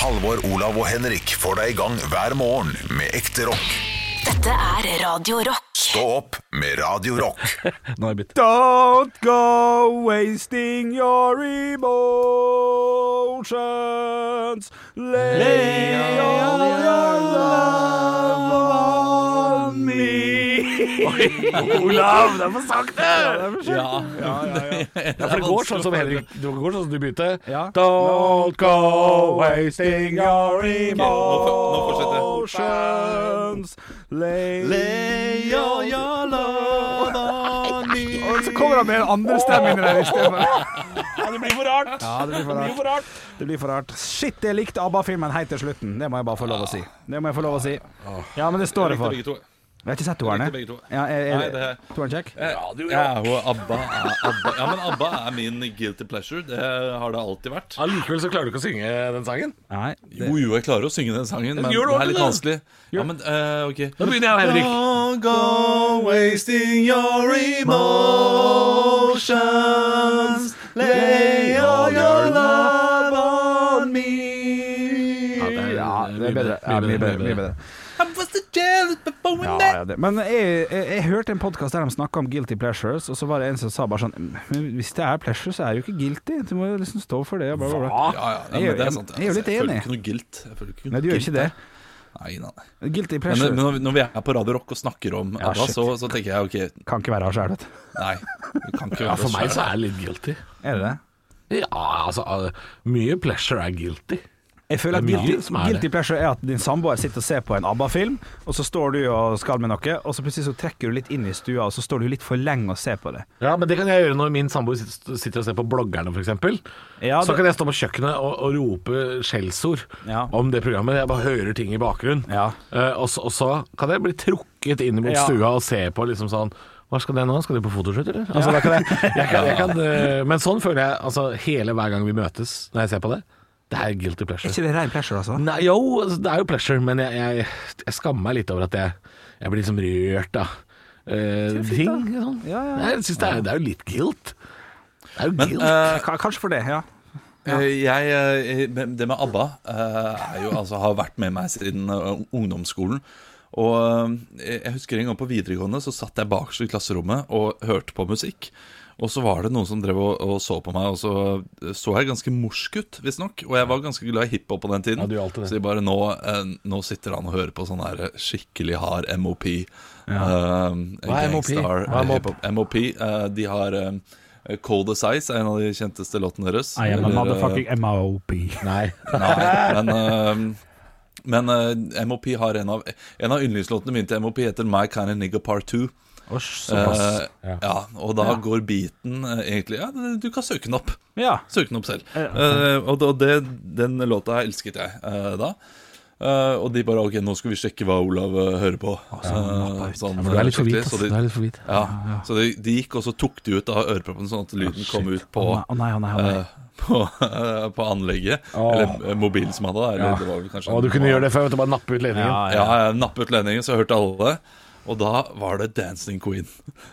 Halvor, Olav og Henrik får deg i gang hver morgen med ekte rock. Dette er Radio Rock. Stå opp med Radio Rock. Nå har jeg begynt. Don't go wasting your emotions. Lay all your love on me. Olav, det er for sakte! Ja. Ja, for det går sånn som Henrik Det går sånn som du begynte. Ja. Don't go wasting your nå emotions. Lay, all your love on me. Og så kommer han med en andre stemme inni der i stedet. det blir for rart. Ja, det blir for rart. for rart. Det blir for rart. Shit, jeg likte ABBA-filmen helt til slutten. Det må jeg bare få lov å si. Det må jeg få lov å si. Ja, men det står jeg Likte for. begge to. Jeg har ikke sett toeren, Jeg jeg. likte begge to. Ja, er, Nei, er, det- Eh, toeren kjekk? Ja, og ABBA, er, ABBA Ja, men ABBA er min guilty pleasure. Det har det alltid vært. Allikevel så klarer du ikke å synge den sangen. Nei. Jo, jo, jeg klarer å synge den sangen, men Gjør det det er litt ordentlig, vanskelig. Ja, men, eh, ok Da begynner jeg og Henrik. Don't go wasting your emotions Lay all your love on me Ja, det er, ja, det er bedre. Ja, mye bedre. Mye bedre. I was a jealous before we Ja, met ja, det. Men jeg, jeg, jeg hørte en podkast der de snakka om guilty pleasures, og så var det en som sa bare sånn Men hvis det er pleasure, så er det jo ikke guilty. Du må jo liksom stå for det. og Bla, bla, bla. Ja, ja, nei, Jeg men det er- er sant jeg er jo litt Altså, enig. Jeg føler ikke noe guilt Jeg føler ikke noe Nei, du gjør guilt ikke det. der. Nei, nei, nei Guilty men, pleasure men når vi- når vi er på Radio Rock og snakker om Ja, ABBA shit. så, så tenker jeg, ok, kan ikke være av sjæl, vet du. nei Vi kan ikke Ja, være for oss meg selv. så er det litt guilty. Er det det? Ja, altså uh, Mye pleasure er guilty. Jeg føler at Det er mye guilty, som er det. guilty pleasure er at din samboer sitter og ser på en ABBA-film, og så står du og skal med noe, og så plutselig så trekker du litt inn i stua, og så står du litt for lenge og ser på det. Ja, men det kan jeg gjøre når min samboer sitter sitter og ser på bloggerne, f.eks. Ja, Så det- kan jeg stå på kjøkkenet og, og rope skjellsord Ja. om det programmet. Jeg bare hører ting i bakgrunnen. Ja. Eh, og, så, og så kan jeg bli trukket inn mot Ja. stua og se på liksom sånn Hva skal det nå? Skal de på fotoshoot, eller? Altså, da kan jeg, jeg, kan, jeg kan, eh, men sånn føler jeg altså, hele hver gang vi møtes, når jeg ser på det. Det er guilty Er pleasure. ikke det rein pleasure, altså? Nei, jo, altså, det er jo pleasure, men jeg, jeg, jeg skammer meg litt over at jeg, jeg blir liksom rørt av eh, ting. Sånn. Ja, ja, ja. Jeg synes det, er, det er jo litt guilt. Det er jo Men, guilt. eh, Ka- Kanskje for det, ja. Eh, Jeg, eh, men det med ABBA eh, er jo, altså, har vært med meg siden eh, ungdomsskolen. Og eh, jeg husker en gang på videregående så satt jeg bakerst i klasserommet og hørte på musikk. Og så var det noen som drev og, og så på meg, og så eh, så jeg ganske morsk ut, visstnok. Og jeg var ganske glad i hiphop på den tiden. Ja, du gjør alltid det. Så de bare nå, eh, nå sitter han og hører på sånn der skikkelig hard MOP. eh, Hva er MOP? gangstar, Hva er MOP? hiphop. MOP eh, de har eh, Cold As Ice er en av de kjenteste låtene deres. I am a Eller, eh, motherfucking MOP. Nei. Nei, men, eh, men eh, MOP har en av, en av yndlingslåtene mine til MOP heter My Kind of Nigga Part 2. Eh, ja. og da går beaten eh, egentlig Ja, du kan søke den opp. Ja. Søk den opp selv. Ja. Eh, og da- det, den låta her elsket jeg eh, da. Eh, og de bare OK, nå skal vi sjekke hva Olav eh, hører på. Eh, sånn, Du er litt for hvit, skikkelig, så ass. Du de- er litt for hvit. ja, så de, de gikk, og så tok de ut av øreproppen, sånn at lyden kom ut på Å nei, å nei, å nei. eh, på, på anlegget. Åh. Eller eh, mobilen som hadde, da, eller det var vel kanskje Å, du kunne gjøre det før, vet du, bare nappe ut ledningen. Ja, Ja, jeg nappet ledningen, så jeg hørte alle det. Og da var det Dancing Queen.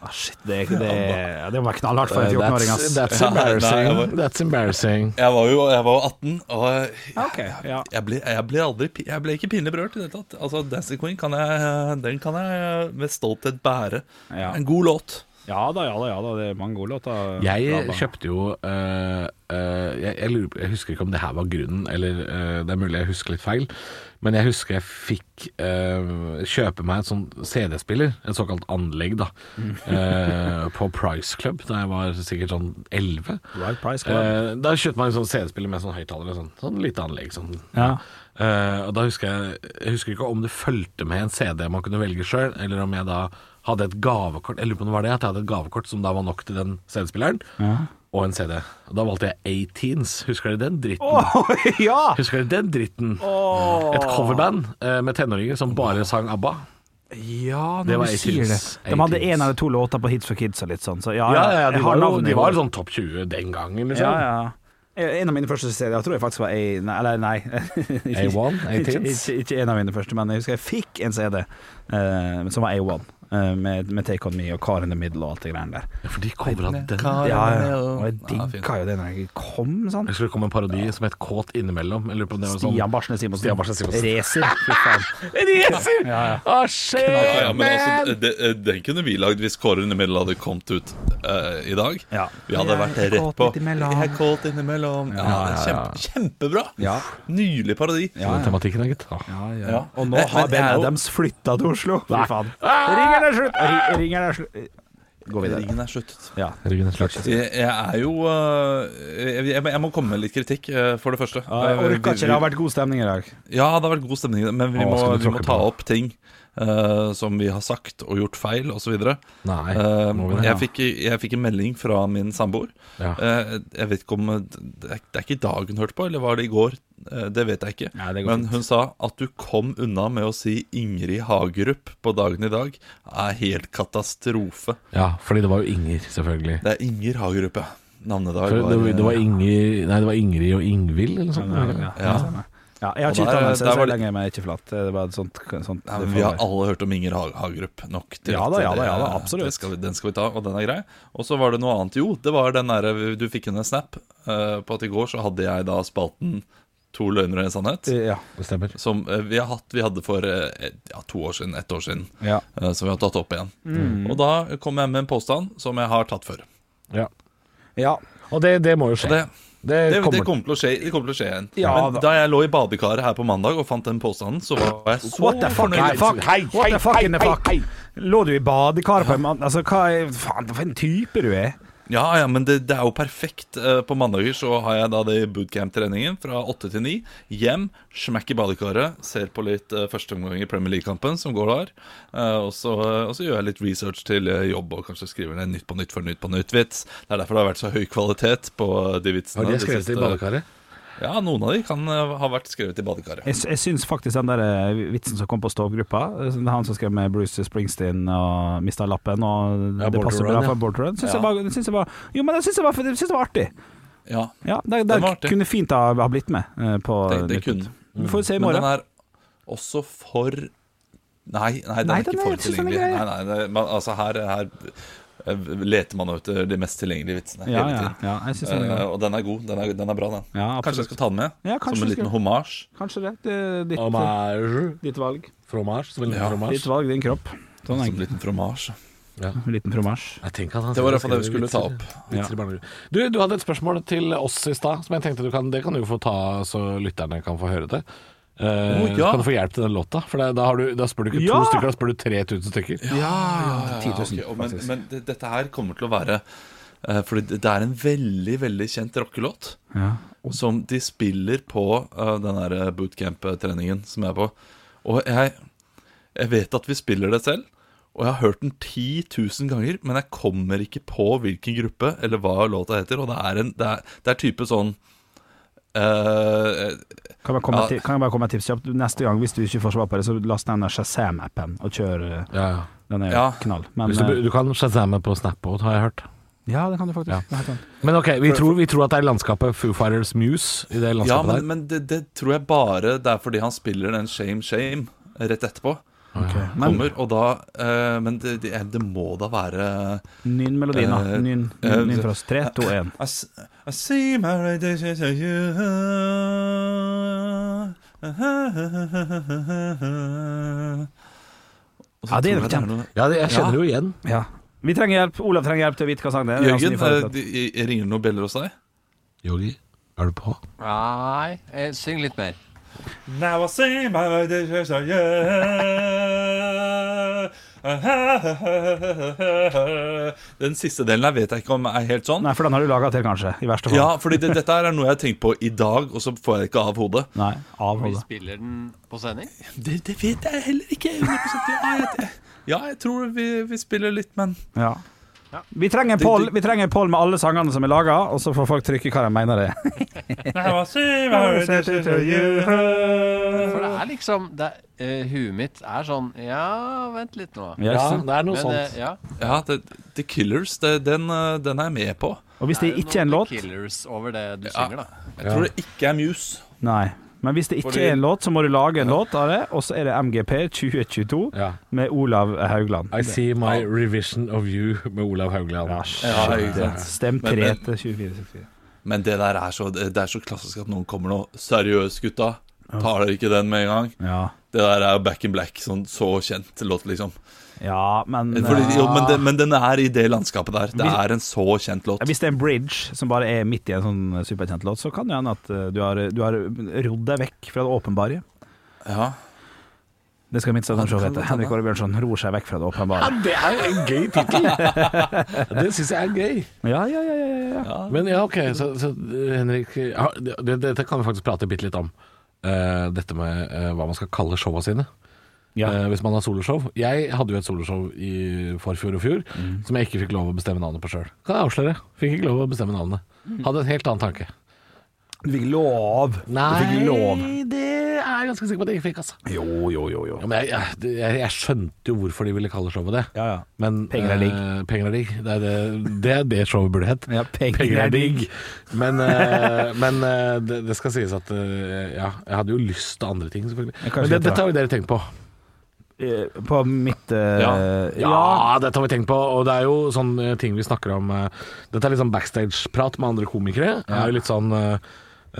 Ah, shit, det, det, ja, det må være knallhardt for en 14-åring, Eh, That's, ass. that's Ja, nei, embarrassing. jeg var- That's embarrassing. Jeg var jo jeg var jo 18, og jeg, Ok, ja. jeg, ble, jeg ble aldri pi- Jeg ble ikke pinlig berørt i det hele tatt. Altså, Dancing Queen kan jeg, eh, den kan jeg med stolthet bære. Ja. En god låt. Ja da, ja da, ja da. Det er mange gode låter. Ja, Jeg da. kjøpte jo eh, eh, jeg, jeg, lurer, på- jeg husker ikke om det her var grunnen, eller eh, det er mulig jeg husker litt feil. Men jeg husker jeg fikk eh, kjøpe meg en sånn CD-spiller, en såkalt anlegg, da, Mm. eh, på Price Club da jeg var sikkert sånn 11. Right Price Club. Eh, da kjøpte man en sånn CD-spiller med sånn høyttaler og sånn, sånn lite anlegg. Sånn. Ja. Eh, og da husker jeg Jeg husker ikke om det fulgte med en CD man kunne velge sjøl, eller om jeg da hadde et gavekort Jeg lurer på om det var det, at jeg hadde et gavekort som da var nok til den CD-spilleren, og en CD. Og da valgte jeg 18s. Husker dere den dritten? Åh, ja! Husker dere den dritten? Et coverband eh, med tenåringer som bare sang ABBA. Ja, Det når var du 18s. sier det. De hadde 18s. én eller to låter på Hits for Kids og litt sånn, så ja, Ja, ja, ja, jeg de, har var jo, navnet i de var hodet. jo sånn topp 20 den gangen, liksom. Ja, ja. En av mine første serier, jeg tror jeg faktisk var A... Nei, eller nei. A1, 18s. Ikke, ikke, ikke en av mine første, men jeg husker jeg fikk en CD eh, som var A1. eh, med, med Take On Me og Karen the Middle og alt det greiene der. Ja, for de covra den. Ja, ja. Og jeg digga jo det når jeg kom, sånn. sant. Jeg skulle komme en parodi som het Kåt innimellom. Jeg lurer på om det var sånn Stian Barsnes Simonsen. Stian Barsnes Simonsen. Racer. Fy faen. Racer! Ja, ja. Å, Ja, ja, Ah, shit, men man! altså, de- den kunne vi lagd hvis Kåren Imellom hadde kommet ut eh, i dag. Ja. Vi hadde Jeg vært er rett kåt på. innimellom. Jeg er kåt innimellom. Ja, Kjempe, kjempebra! Ja. Nylig parodi. Så den tematikken er, gitt. Å. Ja, Ja. Og nå Men- har men Ben jeg er jo- Adams flytta til Oslo. Fy faen. Ah! Ringen er slutt! Ri- Ringen er slutt. Gå videre. Ringen er sluttet. Ja. Ryggen er slags. Jeg, jeg er jo eh, jeg, jeg, jeg må komme med litt kritikk, eh, for det første. Jeg Eh, vi- orka ikke, det har vært god stemning i dag. Ja, det har vært god stemning, men vi Å, må, skal du vi må tråkke ta på? opp ting eh, som vi har sagt og gjort feil, osv. Nei, Uh, må vi det? jeg, fikk, jeg fikk en melding fra min samboer. Ja. Eh, jeg vet ikke om eh, Det er det er ikke i dag hun hørte på, eller var det i går? Eh, det vet jeg ikke. Nei, det går Men fint. hun sa at du kom unna med å si Ingrid Hagerup på dagen i dag, er helt katastrofe. Ja, fordi det var jo Inger, selvfølgelig. Det er Inger Hagerup, ja. Navnedag. For det, var- eh, det, var Inger, nei, det var Ingrid og Ingvild, eller Ja, noe sånt. det stemmer. ja, jeg har ikke Og der- utdannelse, der så var jeg det- legger meg ikke flat. Det var et sånt, sånt Nei, men vi har alle hørt om Inger Ha- Hagerup nok til Ja at da, ja da, det- ja da, absolutt. det skal vi, Den skal vi ta, og den er grei. Og så var det noe annet. Jo, det var den derre Du fikk en snap eh, på at i går så hadde jeg da spalten To løgner og en sannhet. Ja. Det stemmer. Som eh, vi har hatt Vi hadde for eh, et- ja, to år siden, ett år siden. Ja. eh, Som vi har tatt opp igjen. Mm. Og da kom jeg med en påstand som jeg har tatt før. Ja. ja. Og det, det må jo Og skje. det, Det det, det, kommer. kommer til å skje, det kommer til å skje igjen. Ja Men da. da. jeg lå i badekaret her på mandag og fant den påstanden, så var jeg så What the fuck? fornøyd. Nei, fuck. Hei, What the hei, fuck in the hei, fuck? hei. Lå du i badekar på en mann? Altså, hva er Faen, for en type du er. Ja, ja, men det, det er jo perfekt. Eh, På mandager så har jeg da det i bootcamp-treningen fra åtte til ni. Hjem, smekk i badekaret, ser på litt eh, første omgang i Premier League-kampen som går der. Eh, Og så, og så gjør jeg litt research til eh, jobb og kanskje skriver ned Nytt på nytt for Nytt på nytt-vits. Det er derfor det har vært så høy kvalitet på eh, de Har vitsene. de de skrevet det i siste- badekaret? Ja, noen av de kan eh, ha vært skrevet i badekaret. Jeg, sy- jeg syns faktisk den der eh, vitsen som kom på Stov-gruppa, eh, som- han som skrev med Bruce Springsteen og mista lappen og Ja, det passer Border bra Run, ja. for Border Run, syns Ja. jeg var- syns jeg var Jo, men jeg syns jeg var- jeg syns det var artig. Ja, Ja, det, det, Den var artig. kunne fint ha, ha blitt med eh, på det, det Nytt på Nytt. kunne Vi får se i Men den morgen. er også for Nei, nei den Nei, er ikke den er- jeg for synes den er tilgjengelig. grei. Nei, nei, det, man, altså her, her eh, leter man etter de mest tilgjengelige vitsene Ja, hele ja, tiden. ja, jeg syns den er Eh, god. og den er god. Den er, den er bra, den. Ja, kanskje jeg absolutt. skal ta den med? Ja, kanskje som en du skal- liten hommage. Kanskje det. det er ditt, Hommage. ditt valg. Fromage. Som en liten Ja. fromage. Ditt valg, din kropp. Sånn, Som en egentlig. liten frommage. En liten fromasj. Jeg tenker at han Det var sier i hvert fall det vi skriver skulle ta opp. vitser- vitser i barnegrunnen. Du, du hadde et spørsmål til oss i stad, som jeg tenkte du kan Det kan du jo få ta, så lytterne kan få høre det. Eh, Å, Så ja. kan du få hjelp til den låta. For da, da, har du, da spør du ikke Ja! to stykker, da spør du 3000 stykker. Ja, ja, 10 000, ok, og men, faktisk. men det, dette her kommer til å være eh, Fordi det- det er en veldig, veldig kjent rockelåt. Ja. Som de spiller på eh, den der bootcamp-treningen som jeg er på. Og jeg, jeg vet at vi spiller det selv, og jeg har hørt den 10 000 ganger, men jeg kommer ikke på hvilken gruppe eller hva låta heter, og det er, en, det er, det er type sånn eh, Kan jeg, komme Ja. til, kan jeg bare komme med et tips kjapt? Neste gang, hvis du ikke får svar på det, så last ned den der Shazam-appen og kjør eh, Ja, ja. Den er jo Ja. knall. Men Hvis du, eh, du kan shazamme på Snap òg, har jeg hørt. Ja, det kan du faktisk. Ja. Det er helt sant. Men ok, vi tror, vi tror at det er landskapet Foo Fighters Muse i det landskapet Ja, men, der. men det, det tror jeg bare det er fordi han spiller den Shame Shame rett etterpå. Ok. Men Kommer, og da eh, Men det, det, det må da være nynn melodien, da. Eh, Nynn, eh, nynn for oss. Tre, to, én. I s- I see my radiation to you. Og så Ja, det er tror jeg nok kjent. noe- Ja, det, jeg kjenner det jo igjen. Ja. Vi trenger hjelp. Olav trenger hjelp til å vite hva sang det er. Jørgen, Det er altså eh, de- de- ringer det noen beller hos deg? Yogi, er du på? Nei, eh, syng litt mer. Now I see my radiation to you. Den siste delen her vet jeg ikke om er helt sånn. Nei, for den har du laga til, kanskje. I verste fall. Ja, fordi det, dette her er noe jeg har tenkt på i dag, og så får jeg det ikke av hodet. Nei, av Vi hodet. spiller den på sending. Det, det vet jeg heller ikke. 100% Ja, jeg, ja, jeg tror vi, vi spiller litt, men Ja. Vi trenger en Du- poll, du- vi trenger en poll med alle sangene som er laga, og så får folk trykke hva de mener det er. For det er liksom det er, eh, Huet mitt er sånn Ja, vent litt nå. Ja, ikke Ja, sant? det er noe Men, eh, sånt. ja, Ja, det, The Killers, det, den, eh, den er jeg med på. Og hvis det er ikke er en noe låt Killers over det du Ja. synger, da. Jeg tror det ikke er Muse. Nei. Men hvis det ikke Fordi- er en låt, så må du lage en låt av det, og så er det MGP 2022 Ja. med Olav Haugland. I see my revision of you med Olav Haugland. Ja, Ja, shit. ikke sant. Stem Men- 3 men- til 2464. Men det der er så, det er så klassisk at noen kommer nå. Seriøst, gutta. Tar dere ikke den med en gang? Ja. Det der er Back in Black, sånn så kjent låt, liksom. ja, men Fordi, eh, jo, men, det, men den er i det landskapet der. Det Vi- er en så kjent låt. hvis det er en bridge som bare er midt i en sånn superkjent låt, så kan det hende at eh, du har, du har rodd deg vekk fra det åpenbare. Ja. Det skal mitt Stadhamn-show hete. Henrik Åre Bjørnson ror seg vekk fra det åpenbare. det er jo en gøy tittel! det syns jeg er gøy. Ja, ja, ja, ja, ja, ja. Men ja, ok, så, så eh, Henrik ja, det- det- Dette kan vi faktisk prate bitte litt om. Eh, dette med eh, hva man skal kalle showa sine. Ja. Eh, hvis man har soloshow. Jeg hadde jo et soloshow i forfjor og fjor som jeg ikke fikk lov å bestemme navnet på sjøl. Kan jeg avsløre. Fikk ikke lov å bestemme navnet. Hadde en helt annen tanke. Du fikk lov. Du fikk lov. det er jeg ganske sikker på at jeg ikke fikk, altså. Jo, jo, jo. jo. Ja, men jeg, jeg, det- jeg, jeg skjønte jo hvorfor de ville kalle showet det. Ja, ja. Men, Penger er digg. eh, penger er digg. Det er det, det, er det showet burde hett. Ja, penger er digg. Men, eh, men eh, det, det skal sies at eh, ja, jeg hadde jo lyst til andre ting, selvfølgelig. Ja, kanskje Men det, litt, dette ja. har jo dere tenkt på. Eh, På mitt eh, Ja. Ja, dette har vi tenkt på, og det er jo sånne ting vi snakker om eh, Dette er litt sånn backstage-prat med andre komikere. Det er jo litt sånn eh,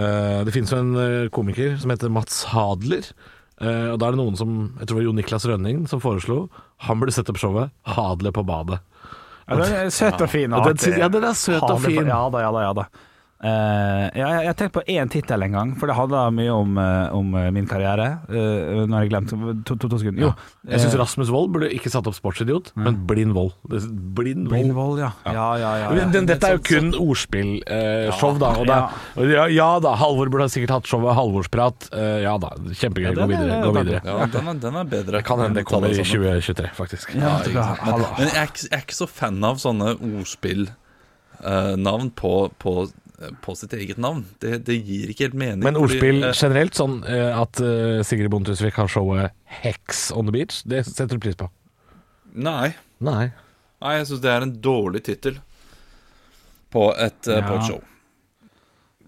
eh, Det finnes jo en eh, komiker som heter Mats Hadler. eh, og da er det noen som Jeg tror det var Jon Niklas Rønning som foreslo. Han burde sette opp showet 'Hadle på badet'. Ja, den er søt og fin. Ja, og den sy- artig. ja, den er søt og Ha det for- fin. Ja da, ja da. ja da Eh, ja, jeg, jeg tenkte på én tittel en gang, for det handla mye om, eh, om eh, min karriere. Eh, nå har jeg glemt to, to, to sekunder. Jo, Jeg syns Rasmus Wold burde ikke satt opp Sportsidiot, men Blind Wold. Det- Mm. Blind Wold. Blindvoll, ja. Ja, ja, ja, ja. Men den- Dette er jo kun ordspillshow, da. Og da ja. og ja, ja da, Halvor burde ha sikkert hatt showet Halvorsprat. Eh, ja da, kjempegøy. Ja, Gå den er- videre. Gå den er- videre. Ja, den er, den er bedre. Det kan hende det Ta kommer i sammen. 2023, faktisk. Ja, Ja, vet du ikke hva, sant. Men, hallo. eh, men jeg, er ikke- jeg er ikke så fan av sånne ordspillnavn på, på, eh, på sitt eget navn. Det, det gir ikke helt mening. Men fordi, ordspill eh, generelt, sånn eh, at eh, Sigrid Bonde Tusvik har showet Hex on the Beach, det setter du pris på? Nei. Nei. Nei, jeg syns det er en dårlig tittel på, et, eh, på Ja. et show.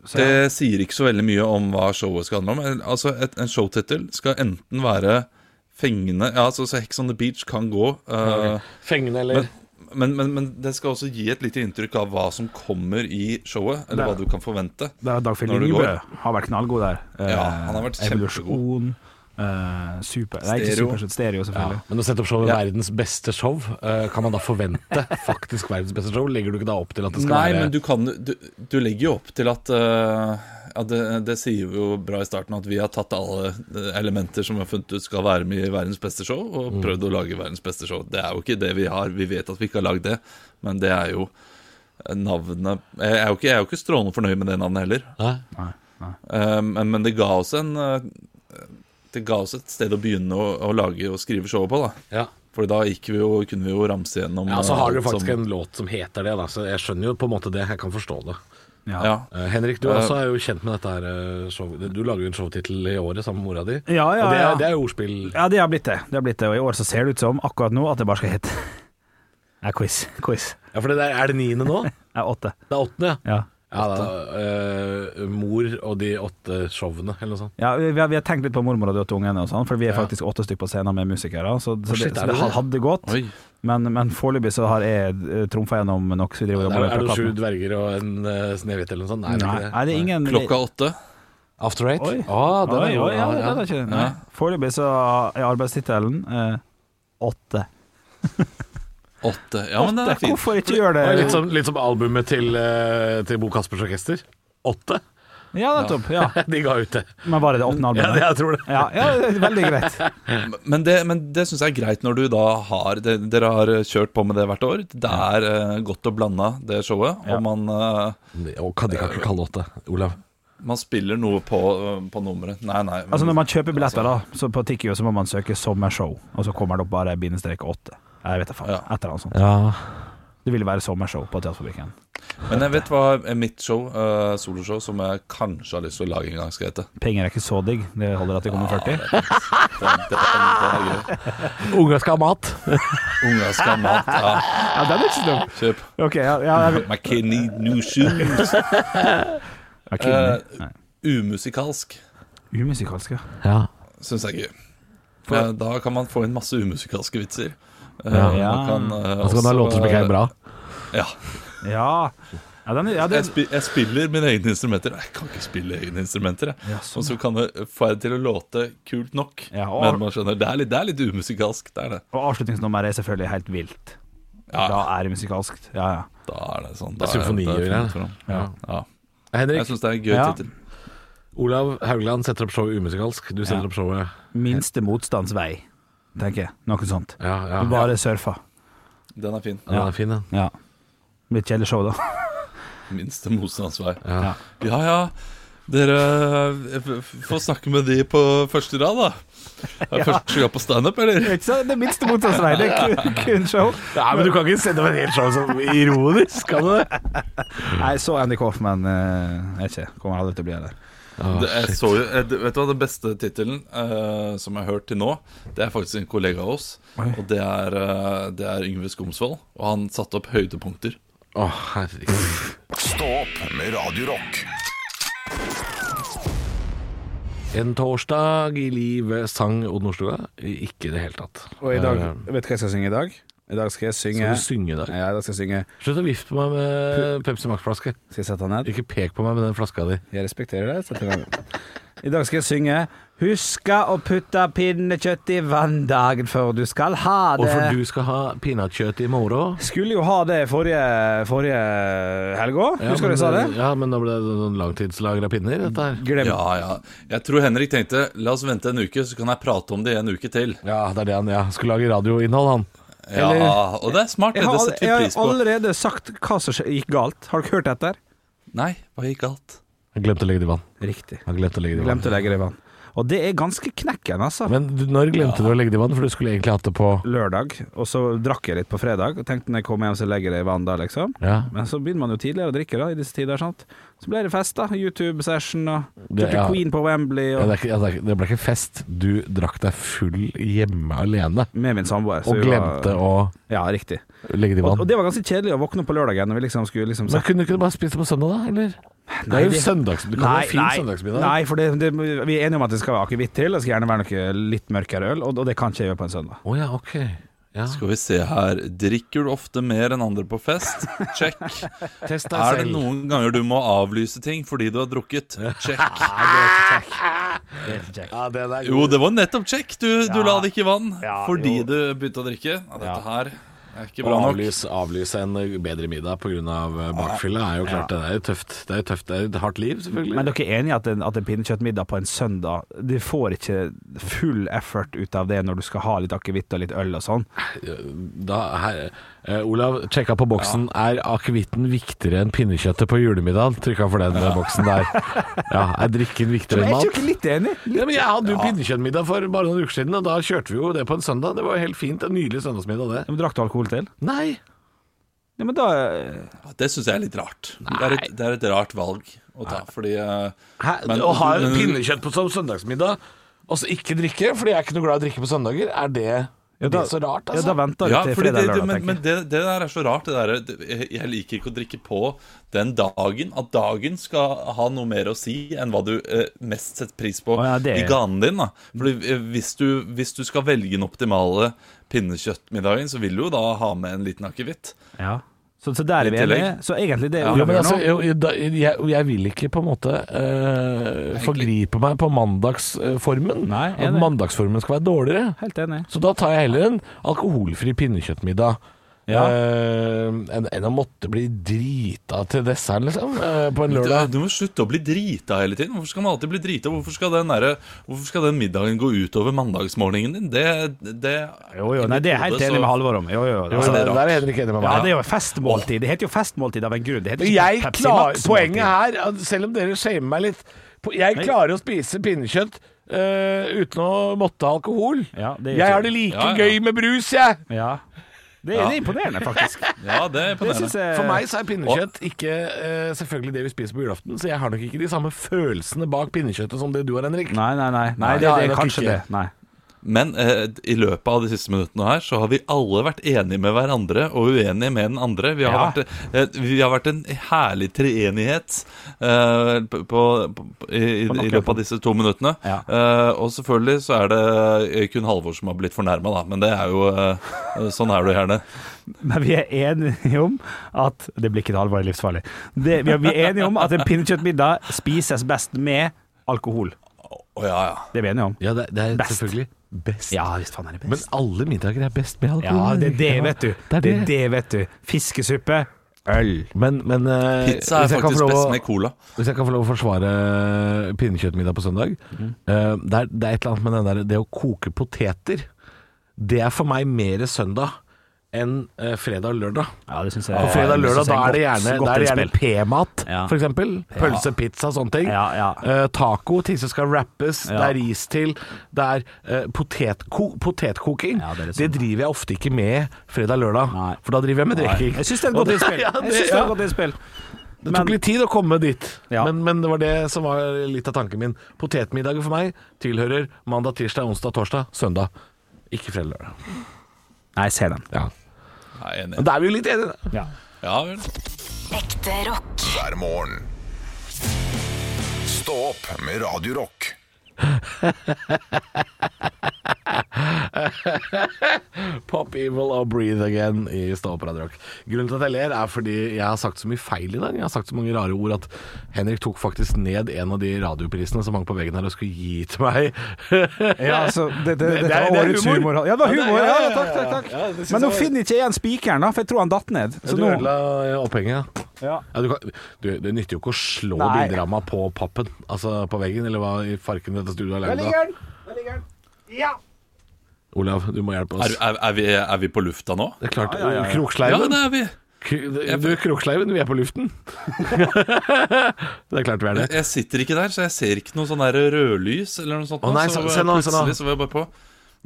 Så, ja. Det sier ikke så veldig mye om hva showet skal handle om. Men, Altså, et, En showtittel skal enten være fengende Ja, altså, så Hex on the Beach kan gå. eh, Fengende men, eller men, men, men det skal også gi et lite inntrykk av hva som kommer i showet, eller hva Det- du kan forvente. Det er Dagfinn Når det Lyngbø. går. Har vært knallgod der. Eh, Ja, han har vært Evolusjon. eh, super. Nei, ikke Stereo. super, stereo, ja, selvfølgelig. Men å sette opp showet Ja. Verdens beste show, eh, kan man da forvente faktisk verdens beste show? Legger du ikke da opp til at det skal Nei, være men du, kan, du, du legger jo opp til at eh, ja, det, det sier vi jo bra i starten at vi har tatt alle eh, elementer som vi har funnet ut skal være med i verdens beste show, og Mm. prøvd å lage verdens beste show. Det er jo ikke det vi har. Vi vet at vi ikke har lagd det, men det er jo eh, navnet Jeg er jo ikke, jeg er jo ikke strålende fornøyd med det navnet heller, Nei? Eh, men, men det ga oss en eh, Det ga oss et sted å begynne å, å lage og skrive showet på, da. Ja. For da gikk vi jo, kunne vi jo ramse gjennom Ja, så eh, har du alt faktisk som- en låt som heter det, da, så jeg skjønner jo på en måte det. Jeg kan forstå det. Ja. ja. Eh, Henrik, du Eh, også er jo kjent med dette her eh, show. Du lager jo en showtittel i året sammen med mora di. Ja, ja, og det ja. er, det er jo ordspill. Ja, det har blitt det. det har blitt det. Og i år så ser det ut som, akkurat nå, at det bare skal hete Nei, quiz. Quiz. Ja, for det der, er det niende nå? Det er åtte. Det er åttende, ja. Ja. ja da, eh, mor og de åtte showene, eller noe sånt. Ja, vi, vi har, vi har tenkt litt på mormor og de åtte ungene, og sånn, for vi er faktisk åtte stykker på scenen med musikere. Så, så, shit, er det, så det det det? hadde gått, Oi. men, men foreløpig så har jeg trumfa gjennom nok. Så vi driver og Er, jobber er med det sju plakaten. dverger og en uh, snehvit eller noe sånt? Nei, det Nei, er ikke er det det. ingen Klokka åtte. After Eight? Oi. Å, den Oi, er Ah, jo- oi, ja, ja, det ja. er ikke det. Nei. Ja. Foreløpig så er arbeidstittelen eh, åtte. Åtte. Ja, men det er fint. Hvorfor ikke gjøre Og det? Litt, som, litt som albumet til, eh, til Bo Kaspers Orkester. Åtte. Ja, nettopp. Ja. De ga ut det. Men var det det åttende sånn- Ja, det, albumet? jeg tror det. Ja, ja, det er veldig greit. Men det, men det syns jeg er greit når du da har det, Dere har kjørt på med det hvert år. Det er eh, godt og blanda, det showet. Ja. Og man, eh, Og kan de kan ikke kalle åtte, Olav? man spiller noe på, eh, på nummeret. Nei, nei. men- Altså Når man kjøper billetter da Så på Tikkio så må man søke sommershow, og så kommer det opp bare bindestrek 8. Jeg vet da faen. Ja. Et eller annet sånt. Ja. Det ville være sommershow på Teaterfabrikken. Men jeg vet hva er mitt show, eh, soloshow, som jeg kanskje har lyst til å lage en gang, skal hete. Penger er ikke så digg, det holder at det kommer 40. Det, det, det er gøy. Unga skal ha mat. Unga skal ha mat. Ja, Ja, den er ikke så dum. kjøp. Ok, ja, ja, jeg- My kid need new shoes. Eh, jeg er keen. Umusikalsk. Eh, Umusikalsk, ja. Ja. syns jeg er gøy. For eh, da kan man få inn masse umusikalske vitser. Eh, Ja. man kan, eh, Og så kan du ha også, låter som ikke er bra. Ja. Ja, ja, den, ja Jeg, den, spi jeg spiller mine egne instrumenter. Jeg kan ikke spille egne instrumenter. Jeg. Ja, sånn. Og så kan det få det til å låte kult nok. Ja, og- Men man skjønner, det er litt, det er litt umusikalsk. Det er det. Og avslutningsnummeret er selvfølgelig helt vilt. Da Ja, er det musikalsk. Ja, ja. da er det sånn. Det er da symfoni da er og greier. fint for dem. Ja. Ja. Jeg Henrik, syns det er en gøy Ja. tittel. Olav Haugland setter opp showet umusikalsk. Du setter opp showet Minste motstands vei, tenker jeg. Noe sånt. Ja, ja. Du bare surfer. Den er fin. ja den er fin, den. Ja. Litt kjedelig show, da. Minste motstands vei. Ja. Ja ja, dere eh, f- f- får snakke med de på første rad, da. Er det første gang på standup, eller? Ikke sant? Det er minste motstands vei, det er kun, kun show. Nei, men du kan ikke sende opp en hel show som ironisk, kan du det? Nei, så Andy Coffman eh, er ikke Kommer aldri til å bli her. Det, jeg så jo, jeg, vet du hva, Den beste tittelen eh, som jeg har hørt til nå, det er faktisk en kollega av oss. Oi. Og det er, eh, det er Yngve Skomsvold. Og han satte opp høydepunkter. Å, herregud. Stå opp med Radio Rock. En torsdag i livet sang Odd Nordstoga. Ikke i det hele tatt. Og i dag, Eh, vet du hva jeg skal synge i dag? I dag skal jeg synge Skal du synge i dag? Ja, i dag skal jeg synge Slutt å vifte på meg med Pepsi Max-flaske. Skal jeg sette han ned? Ikke pek på meg med den flaska di. Jeg respekterer deg. Sett i gang. I dag skal jeg synge Huska å putte pinnekjøtt i vann dagen før du skal ha Og det. for du skal ha pinnekjøtt i morgen. Skulle jo ha det forrige, forrige helg òg. Ja, Husker du men- eh, jeg sa det? Ja, men da ble det sånn langtidslagra pinner, dette her. Glem. Ja, ja. Jeg tror Henrik tenkte la oss vente en uke, så kan jeg prate om det en uke til. Ja, det er det han ja. skulle lage radioinnhold, han. Ja, Eller- Og det er smart. Jeg Det har, setter jeg vi har pris på. allerede sagt hva som skje- gikk galt. Har dere hørt dette? Nei, hva gikk galt? Han glemte å legge det i vann. Riktig. Han glemte å legge det i vann. Glemte å legge det i vann. Og det er ganske knekken, altså. Men du, når glemte du å legge det i vann? For du skulle egentlig hatt det på Lørdag, og så drakk jeg litt på fredag. Og tenkte når jeg kommer hjem, så legger jeg det i vann da, liksom. Ja, Men så begynner man jo tidligere å drikke da, i disse tider. sant? Så ble det fest, da. YouTube-session og Det- tok til ja. Queen på Wembley Ja, og det, er ikke, ja, det, er ikke, det ble ikke fest. Du drakk deg full hjemme alene med min samboer. så og vi var- glemte å Ja, riktig. legge det i Og, vann. og det var ganske kjedelig å våkne opp på lørdagen når vi liksom skulle liksom Men kunne du ikke bare spist det på søndag, da? Eller? det er jo søndags... Du kan ha en fin søndagsmiddag. nei, for det, det, vi er enige om at det skal være akevitt til. Det skal gjerne være noe litt mørkere øl, og, og det kan ikke jeg gjøre på en søndag. Å ja, ok. Ja. Skal vi se her. Drikker du ofte mer enn andre på fest? Check. Test deg Er det selv. noen ganger du må avlyse ting fordi du har drukket? Check. Ja, den er Jo, det var nettopp check. Du, du la det ikke i vann Ja, fordi jo. du begynte å drikke. Ja, dette her er ikke Å bra nok. avlyse, avlyse en eh, bedre middag pga. eh, bakfylla er jo klart Det er jo tøft. Det er jo tøft. Det er et hardt liv, selvfølgelig. Men dere er enige at en, at en pinnekjøttmiddag på en søndag Du får ikke full effort ut av det når du skal ha litt akevitt og litt øl og sånn? da, her, eh, Olav sjekka på boksen. Er akevitten viktigere enn pinnekjøttet på julemiddagen? Trykka for den eh, boksen der. Ja, Er drikken viktigere Men enn jeg er mat? ikke litt enig. Ja, men jeg hadde jo pinnekjøttmiddag for bare noen uker siden, og da kjørte vi jo det på en søndag. Det var jo helt fint. En nydelig søndagsmiddag, det. Ja, men drakk du alkohol til? Nei. Ja, men da eh, Ja, Det syns jeg er litt rart. Det er, et, det er et rart valg å ta, fordi eh, Hæ? Men- Å ha pinnekjøtt på som søndagsmiddag, og så ikke drikke, fordi jeg er ikke noe glad i å drikke på søndager, er det, det er så rart, Ja, altså? da venter du ja, til fordi det, fredag det, lørdag, men, tenker men jeg. det, det der er så rart. Det der, det- jeg- jeg liker ikke å drikke på den dagen. At dagen skal ha noe mer å si enn hva du eh, mest setter pris på Å, ja, det- i ganen din. Da. Fordi, eh, hvis, du, hvis du skal velge den optimale pinnekjøttmiddagen, så vil du jo da ha med en liten akevitt. Ja. Så, så der er vi I tillegg. enige. Så egentlig det Ja, Ja, Olav men gjør altså, nå- jeg, da- jeg, jeg vil ikke på en måte eh, forgripe meg på mandagsformen. Nei, at enig. mandagsformen skal være dårligere. Helt enig. Så da tar jeg heller en alkoholfri pinnekjøttmiddag. Ja. eh, enn enn å måtte bli drita til desserten, liksom, eh, på en Du, lørdag. du må slutte å bli drita hele tiden. Hvorfor skal man alltid bli drita? Hvorfor skal den, derre- hvorfor skal den middagen gå utover mandagsmorgenen din? Det, det Jo, jo, nei, det er jeg helt Så- enig med Halvor om. Jo, jo, Jo, altså, det, det er der rart. er Henrik enig med ja, meg. det er jo festmåltid. Det heter jo festmåltid av en grunn. Det heter ikke jeg Pepsi klar, Max-måltid. poenget her, at selv om dere shamer meg litt på- Jeg klarer å spise pinnekjøtt eh, uten å måtte ha alkohol. Ja, det gjør jeg ikke har det. det like Ja, ja. gøy med brus, jeg. Ja. Det, det er imponerende, faktisk. Ja, det er Det imponerende. synes jeg For meg så er pinnekjøtt ikke eh, selvfølgelig det vi spiser på julaften, så jeg har nok ikke de samme følelsene bak pinnekjøttet som det du har, Henrik. Nei, nei, nei. nei Nei, det, ja, det jeg er nok kanskje ikke. det. Nei. Men eh, i løpet av de siste minuttene her så har vi alle vært enige med hverandre og uenige med den andre. Vi har, Ja. vært, eh, vi har vært en herlig treenighet eh, på, på, i, i, På nok i løpet av disse to minuttene. Ja. Eh, og selvfølgelig så er det eh, kun Halvor som har blitt fornærma, da. Men det er jo eh, Sånn er det jo gjerne. Men vi er enige om at Det blir ikke det alvorlig livsfarlig. Det, vi er- vi er enige om at en pinnekjøttmiddag spises best med alkohol. Å ja, ja. Det er vi enige om. Ja, det, det er Best. selvfølgelig best. Ja visst faen er det Men best. alle middager er best med alkohol. Ja, det er det, Ja, vet du. Det er det. vet du. Fiskesuppe. Øl. Men, men eh, Pizza hvis er jeg kan få faktisk lov å- best med cola. Hvis jeg kan få lov å forsvare pinnekjøttmiddag på søndag Mhm. eh, det, er, det er et eller annet med den der, det å koke poteter. Det er for meg mer søndag enn eh, fredag og lørdag. Ja, det syns jeg. På fredag og lørdag da er det gjerne, da er det gjerne innspill. p-mat, Ja. for eksempel. Pølse, pizza, sånne ting. Ja, ja. Eh, taco, ting som skal wrappes. Ja. Det er ris til. Det er eh, potetko potetkoking. Ja, det det, er litt sånn, driver jeg ofte ikke med fredag og lørdag, Nei. for da driver jeg med drikking. Jeg syns det er et godt innspill. Ja, Jeg det- synes det er ja. et godt innspill. Det tok litt tid å komme dit, Ja. men, men det var det som var litt av tanken min. Potetmiddagen for meg tilhører mandag, tirsdag, onsdag, torsdag, søndag. Ikke fredag, lørdag. Nei, jeg ser den. Jeg er enig. Men da er vi jo litt enige. Ja. Ja, vel. Ekte rock. hver morgen. Stå opp med Radio Rock. Pop evil og breathe again i Ståoperadrakt. Grunnen til at jeg ler er fordi jeg har sagt så mye feil i dag. Jeg har sagt så mange rare ord at Henrik tok faktisk ned en av de radioprisene som hang på veggen her og skulle gi til meg. Ja, altså, det, det, Det- dette det er- var det er årets humor. humor. Ja, det var Ja, det- humor. ja, Ja, ja, ja, takk, takk, ja, ja, det takk. synes Men nå jeg var- finner ikke jeg igjen spikeren, da, for jeg tror han datt ned. Så Du nå ødela opphenget. Ja. Ja, du, kan, du, det nytter jo ikke å slå Nei. bilder av meg på pappen, altså på veggen, eller hva i farken dette studioet er Der laget ligger av. den! Der ligger den. Ja! Olav, du må hjelpe Er, oss. er, er, vi, er vi på lufta nå? Det er klart, Ja, Kroksleiven. det er vi. K- Du, Kroksleiven, vi er på luften. det er klart vi er det. Jeg sitter ikke der, så jeg ser ikke noe sånn der rødlys eller noe sånt. Å, nei, så, se- se nå, se nå. plutselig så var jeg bare på.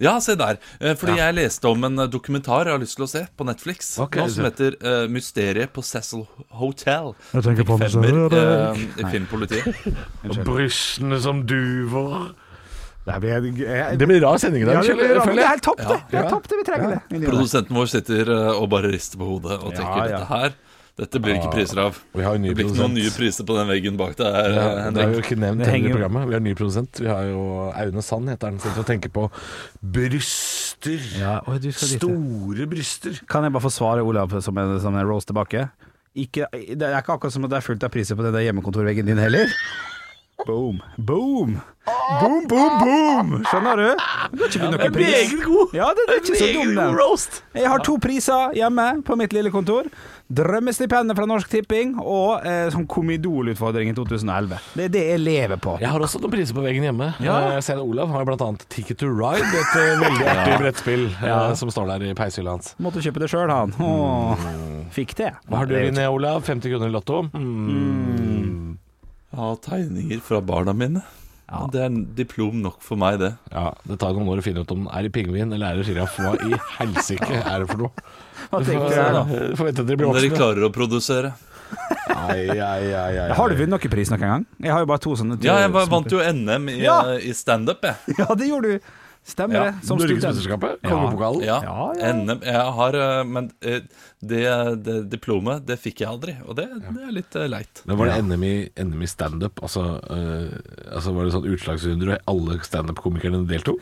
Ja, se der. Eh, Fordi jeg leste om en eh, dokumentar jeg har lyst til å se på Netflix. Ok, nå, som så- heter eh, 'Mysteriet på Cecil Hotel'. Jeg tenker på Femmer eh, i filmpolitiet. Brystene som duver. Det blir en jeg- Det blir rar sending i Ja, dag. det blir føler jeg. rart. Det er helt topp, Ja. det. Det er topp, det. Vi trenger det. Vi liker det. Produsenten vår sitter eh, og bare rister på hodet og tenker ja. Ah. 'dette her, dette blir ikke priser av'. Vi har en ny Det blir ikke noen produsent. nye priser på den veggen bak der, Ja, Det eh, har Henrik. vi jo ikke nevnt Det heller i henger- programmet. Vi har en ny produsent. Vi har jo Aune Sand, heter han. Sitter og tenker på bryster. Ja, oi, du skal dit, ja. Store bryster. Kan jeg bare få svare Olav som en, som en roast tilbake? Ikke, det er ikke akkurat som at det er fullt av priser på den der hjemmekontorveggen din heller. Boom. Boom. Boom, boom, boom! Skjønner du? Du har ikke vunnet noen pris. god! Ja, det, det er ikke så dum, den. roast! Jeg har to priser hjemme på mitt lille kontor. Drømmestipendet fra Norsk Tipping og eh, sånn Komidol-utfordringen 2011. Det er det jeg lever på. Jeg har også noen priser på veggen hjemme. Eh, Ja. Jeg ser at Olav har bl.a. Ticket to Ride, et eh, veldig artig brettspill eh, som står der i peishylla hans. Måtte kjøpe det sjøl, han. Åh, fikk det. Hva har du inne, Olav? 50 kroner i Lotto? Jeg har tegninger fra barna mine. Det er en diplom nok for meg, det. Ja, Det tar noen år å finne ut om den er i pingvin eller er i sjiraff. Hva i helsike er det for noe? Hva Du tenkte får, jeg da? du får vente til de blir Om dere voksne. klarer å produsere. Ai, ai, ai, ai, Har du ai. vunnet noen pris noen gang? Jeg har jo bare to sånne. Ja, jeg var- vant jo NM i, Ja. eh, i standup, jeg. Ja, det gjorde du. Stemmer Ja, det. Som student. Norgesmesterskapet? Kongepokalen? Ja, Ja, ja. NM. Jeg har eh, Men eh, det, det diplomet, det fikk jeg aldri. Og det, det er litt eh, leit. Men var det NM i, NM i standup? Altså, eh, altså var det sånn utslagsrunde og alle standup-komikerne deltok?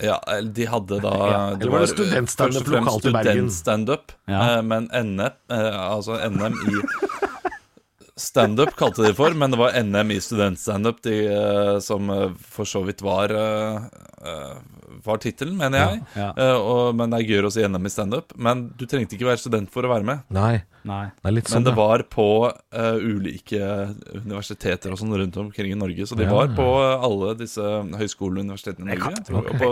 Ja, eller de hadde da Eller var det studentstandup først og fremst lokalt i Bergen? studentstandup, Ja. eh, men NM, eh, altså NM i Standup kalte de det for, men det var NM i studentstandup de, eh, som eh, for så vidt var eh, eh, Var tittelen, mener jeg. Ja, Eh, og, men det er gøyere å si NM i standup. Men du trengte ikke være student for å være med. Nei, Nei. det er litt Men sånn det ja. var på eh, ulike universiteter og sånn rundt omkring i Norge. Så de Ja. var på alle disse høyskolene og universitetene i Norge. Jeg tror, ok. På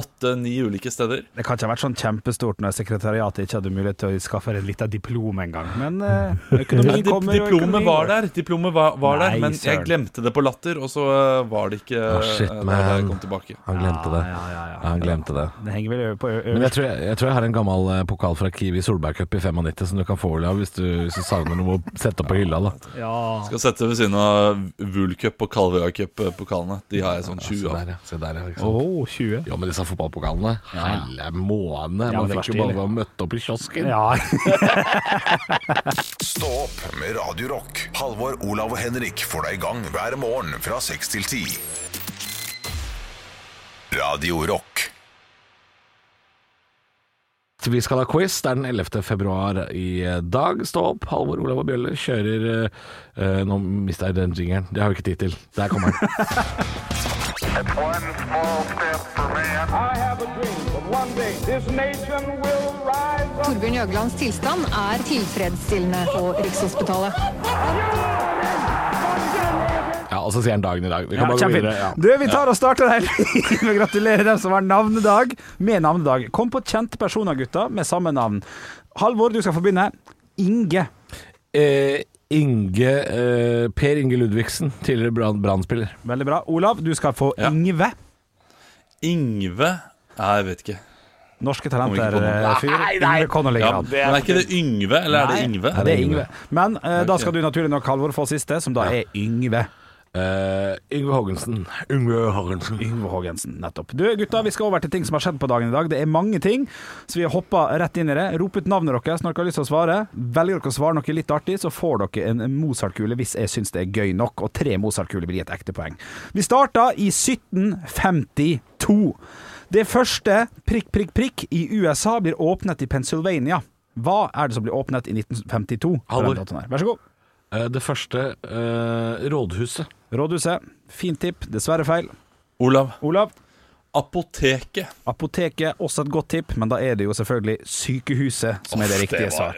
åtte-ni ulike steder. Det kan ikke ha vært sånn kjempestort når sekretariatet ikke hadde mulighet til å skaffe et lite diplom engang, men eh, Men økonomi dip kommer og diplomet økonomi går. var der, diplomet var, var Nei, der men jeg søren. glemte det på Latter, og så eh, var det ikke Å, shit, eh, da man. jeg kom tilbake. Han glemte det. Ja, ja, Ja, ja, han glemte det. ja. Det henger vel ø- på ø- Men jeg øverst. tror jeg, jeg tror jeg har en gammel eh, pokal fra Kiwi Solberg Cup i 95 som du kan få, dårlig av hvis du, hvis du savner noe å sette opp på hylla. da Ja. Skal sette ved siden av Vulcup og Kalvøya-cup-pokalene. De har jeg sånn 20 Se av. der, ja. Se der, ja ikke sant? 20. Ja, men disse fotballpokalene Helle måne. Ja, Man det var fikk jo stilig. bare være møtt opp i kiosken. Ja. Stå opp med Radio Rock. Halvor, Olav og Henrik får deg i gang hver morgen fra 6 til 10. Radio Rock. Vi skal ha quiz. Det er den 11. februar i dag. Stå opp. Halvor Olav og Bjølle kjører eh, Nå mista jeg den jingeren. Det har vi ikke tid til. Der kommer den. One small step for man. I have a dream that one day this nation will rise up. Torbjørn Jøglands tilstand er tilfredsstillende på Rikshospitalet. Ja, Og så sier han dagen i dag. Vi Ja, kan bare gå kjempefint. videre. Ja. Du, vi tar og starter der med å gratulere dem som har navnedag med navnedag. Kom på kjente personer, gutta, med samme navn. Halvor, du skal få begynne. Inge. Eh, Inge eh, Per Inge Ludvigsen, tidligere Brann- Brann-spiller. Veldig bra. Olav, du skal få Ja. Ingve. Ingve Nei, jeg vet ikke. Norske eh, Kommer ikke på noe. talenter-fyr. Ingve Connolly. Ja, Gran. men er ikke det Yngve, eller er det Nei, Ingve? det er Ingve. Men eh, da skal du naturlig nok, Halvor, få siste, som da er Yngve. Eh, Yngve Haagensen. Yngve Haagensen. Yngve Haagensen, nettopp. Du, gutta, vi skal over til ting som har skjedd på dagen i dag. Det er mange ting, så vi hopper rett inn i det. Rop ut navnet deres når dere har lyst til å svare. Velger dere å svare noe litt artig, så får dere en Mozart-kule hvis jeg syns det er gøy nok. Og tre Mozart-kuler blir et ekte poeng. Vi starta i 1752. Det første prikk, prikk, prikk i USA blir åpnet i Pennsylvania. Hva er det som blir åpnet i 1952? Halvor. Vær så god. Eh, det første eh, rådhuset. Rådhuset. Fint tipp, dessverre feil. Olav. Olav? Apoteket. Apoteket, også et godt tipp, men da er det jo selvfølgelig sykehuset som er det riktige svar.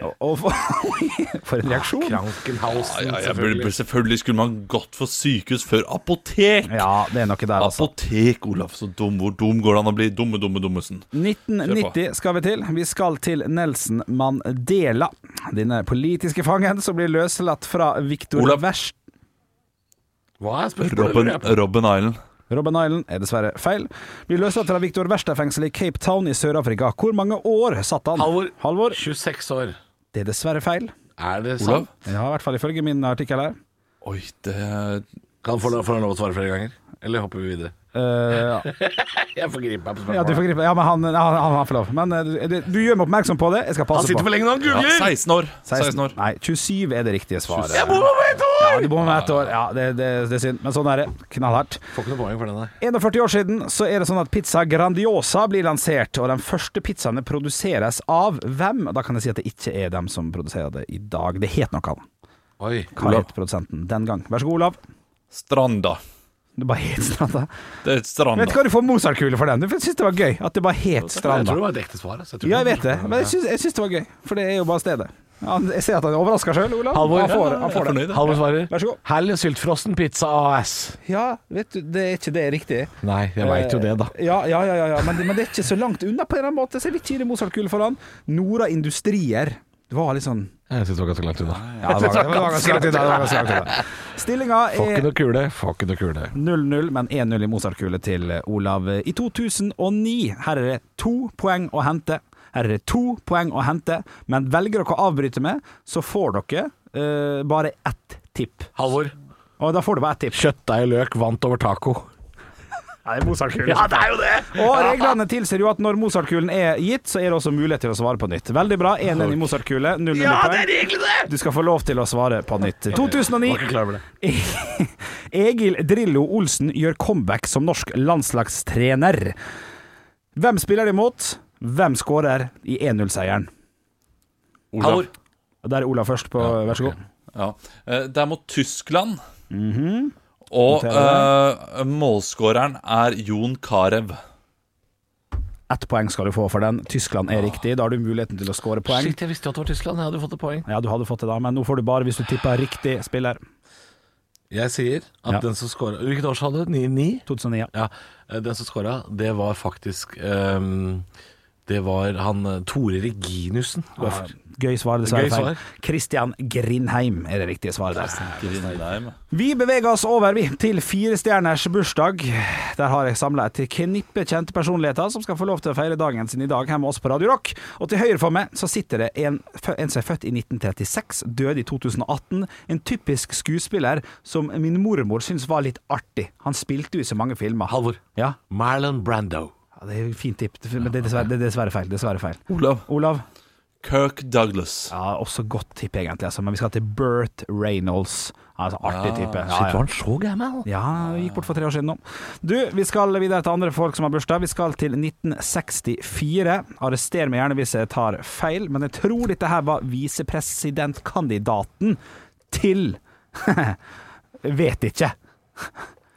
Og- Og for, for en reaksjon! Krankenhalsen, Ja, jeg burde, selvfølgelig. burde- selvfølgelig skulle man gått for sykehus før apotek. Ja, det er noe der, altså. Apotek, Olav. Så dum. Hvor dum går det an å bli? Dumme, dumme, dummesen. 1990 skal vi til. Vi skal til Nelson Mandela. Denne politiske fangen som blir løslatt fra Victor Olav. Verst. Hva er spørsmålet? Robin, Robin Island. Robben Island er dessverre feil. Blir løslatt fra Victor Verstad-fengselet i Cape Town i Sør-Afrika. Hvor mange år satt han? Halvor. Halvor. 26 år. Det er dessverre feil. Er det Olav? sant? Ja, i hvert fall ifølge min artikkel her. Oi, det Kan får han får han lov å svare flere ganger? Eller hopper vi videre? Eh, Jeg forgriper meg på Ja, du får spørsmålet. gripe Ja, men han, han, han, han får lov. Men eh, du, du gjør meg oppmerksom på det. Jeg skal han passe sitter på. for lenge når han ja, googler! 16 år. 16 år. Nei, 27 er det riktige svaret. Jeg bor på et år! Ja, du bommer med ett år. Ja, det, det, det er synd, men sånn er det. Knallhardt. Får ikke noe poeng for den der. 41 år siden så er det sånn at pizza Grandiosa blir lansert, og de første pizzaene produseres av hvem? Da kan jeg si at det ikke er dem som produserer det i dag. Det het noe annet. Oi. Hva het produsenten den gang? Vær så god, Olav. Stranda. Det bare het Stranda. Det er Stranda. Vet du hva du får Mozart-kule for den? Du syns det var gøy at det bare het Jeg Stranda. tror det var et ekte svar. altså. tror Ja, jeg ikke- vet det, men jeg syns, jeg syns det var gøy, for det er jo bare stedet. Han, jeg ser at han er overraska sjøl, Olav. Halvor, han får, han får det. Halvor svarer. Vær så god. Hell Syltfrosten Pizza AS. Ja, vet du, det er ikke det riktig. Eh, Nei, jeg veit jo det, da. Ja, ja, ja, ja, ja. Men, det- men det er ikke så langt unna på en eller annen måte, så jeg vil ikke gi det Mozart-kule for han. Nora Industrier. Det var litt sånn Jeg syns det var ganske langt unna. ja, det var- det var ganske langt unna, det var ganske langt unna. Stillinga Får ikke er noe kule, får ikke noe kule. 0-0, men 1-0 i Mozart-kule til Olav. I 2009, her er det to poeng å hente. Her er det to poeng å hente, men velger dere å avbryte med, så får dere eh, bare ett tipp. Halvor. Og da får du bare ett tipp. Kjøttdeig og løk vant over taco. Ja, det er jo det! Og reglene tilsier jo at når Mozart-kulen er gitt, så er det også mulighet til å svare på nytt. Veldig bra. 1-1 i Mozart-kule. 0-0 Ja, det er poeng. reglene! Du skal få lov til å svare på nytt. 2009. over det. Egil Drillo Olsen gjør comeback som norsk landslagstrener. Hvem spiller de mot? Hvem skårer i 1-0-seieren? Olav. Der er Olav først på Vær så god. Ja. Eh, Det er mot Tyskland. Mhm. Og eh, målskåreren er Jon Carew. Ett poeng skal du få for den. Tyskland er riktig. Da har du muligheten til å skåre poeng. Ah. Shit, jeg visste jo at det var Tyskland. Jeg hadde fått et poeng. Ja, du hadde fått det da, men nå får du bare hvis du tipper riktig spiller. Jeg sier at Ja. den som scora Hvilket år sa du? 9-9? 2009. ja. Ja, eh, den som skåra, det var faktisk ehm, Det var han eh, Tore Reginussen. Ja, Gøy svar, dessverre Gøy svar. feil. Christian Grindheim er det riktige svaret der. Grindheim. Vi beveger oss over vi, til fire stjerners bursdag. Der har jeg samla et knippe kjente personligheter som skal få lov til å feire dagen sin i dag her med oss på Radio Rock. Og til høyre for meg så sitter det en, fø- en som er født i 1936, døde i 2018. En typisk skuespiller som min mormor syntes var litt artig. Han spilte jo i så mange filmer. Halvor. Ja, Marlon Brando. ja det er fint tipp, men det er dessverre, det er dessverre feil. Dessverre feil. Olav. Olav? Kirk Douglas. Ja, også godt tipp egentlig, altså. men vi skal til Burt Reynolds. Altså, Ah, artig type. Ja, ja. han så gammel? Ja, vi gikk bort for tre år siden nå. Du, vi skal videre til andre folk som har bursdag. Vi skal til 1964. Arrester meg gjerne hvis jeg tar feil, men jeg tror dette her var visepresidentkandidaten til Vet ikke.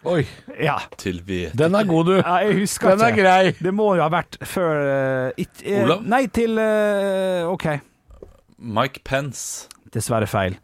Oi. Ja. Til vet Den er god, du. ja, jeg husker Den er ikke. grei. Det må jo ha vært før eh, it, eh, Olav? Nei, til eh, OK. Mike Pence. Dessverre feil.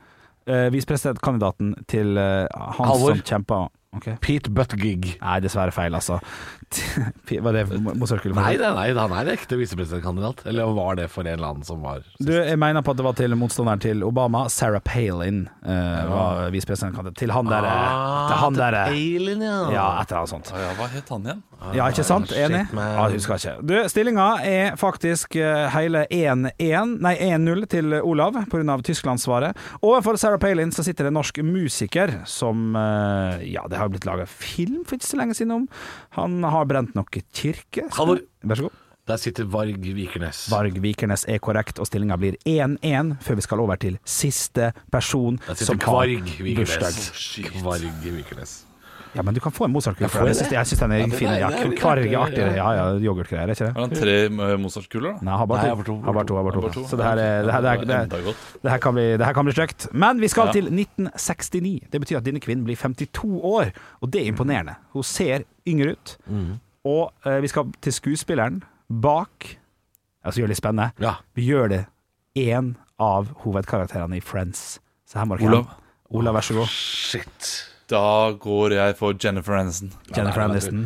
Eh, Visepresidentkandidaten til eh, han Halvor. som kjempa OK. Pete Buttigieg. Nei, dessverre feil, altså. Var det Mozarkul? Nei, nei, nei, han er ekte visepresidentkandidat. Eller var det for en eller annen som var Du, jeg mener på at det var til motstanderen til Obama, Sarah Palin, eh, var visepresidentkandidat. Til han derre Ah, Til han derre Alien, Ja, et eller annet sånt. Ja, hva het han igjen? Ja, ikke sant? Ah, shit, Enig? man. Ja, jeg husker ikke. Du, stillinga er faktisk eh, hele 1-1, nei 1-0 til Olav pga. Tyskland-svaret. Overfor Sarah Palin så sitter det en norsk musiker som eh, Ja, det har blitt laga film for ikke så lenge siden om. Han har brent noe kirke. Halvor. Vær så god. Der sitter Varg Vikernes. Varg Vikernes er korrekt, og stillinga blir 1-1 før vi skal over til siste person Der sitter som har Kvarg bursdag. Vikernes. Kvarg Vikernes. Ja, men du kan få en Mozart-kule Jeg får for det. det. Jeg syns- Jeg syns den er den er- fin. Ja, den er litt Kvarg er artigere, artigere. Ja, ja, yoghurtgreier, er ikke det? Har han tre eh, Mozart-kuler, da? Nei, jeg har bare Nei, to. jeg har bare to, Har bare to, har bare Jeg har to. bare to. Så det her, er- det her, det her, det Enda her, godt. det her kan bli, det her kan bli stygt. Men vi skal Ja. til 1969. Det betyr at denne kvinnen blir 52 år, og det er imponerende. Hun ser yngre ut. Og eh, vi skal til skuespilleren bak Altså, gjør det litt spennende. Ja. Vi gjør det én av hovedkarakterene i Friends. Så her må dere Olav. Olav, vær så god. Shit. Da går jeg for Jennifer Aniston. Jennifer Aniston.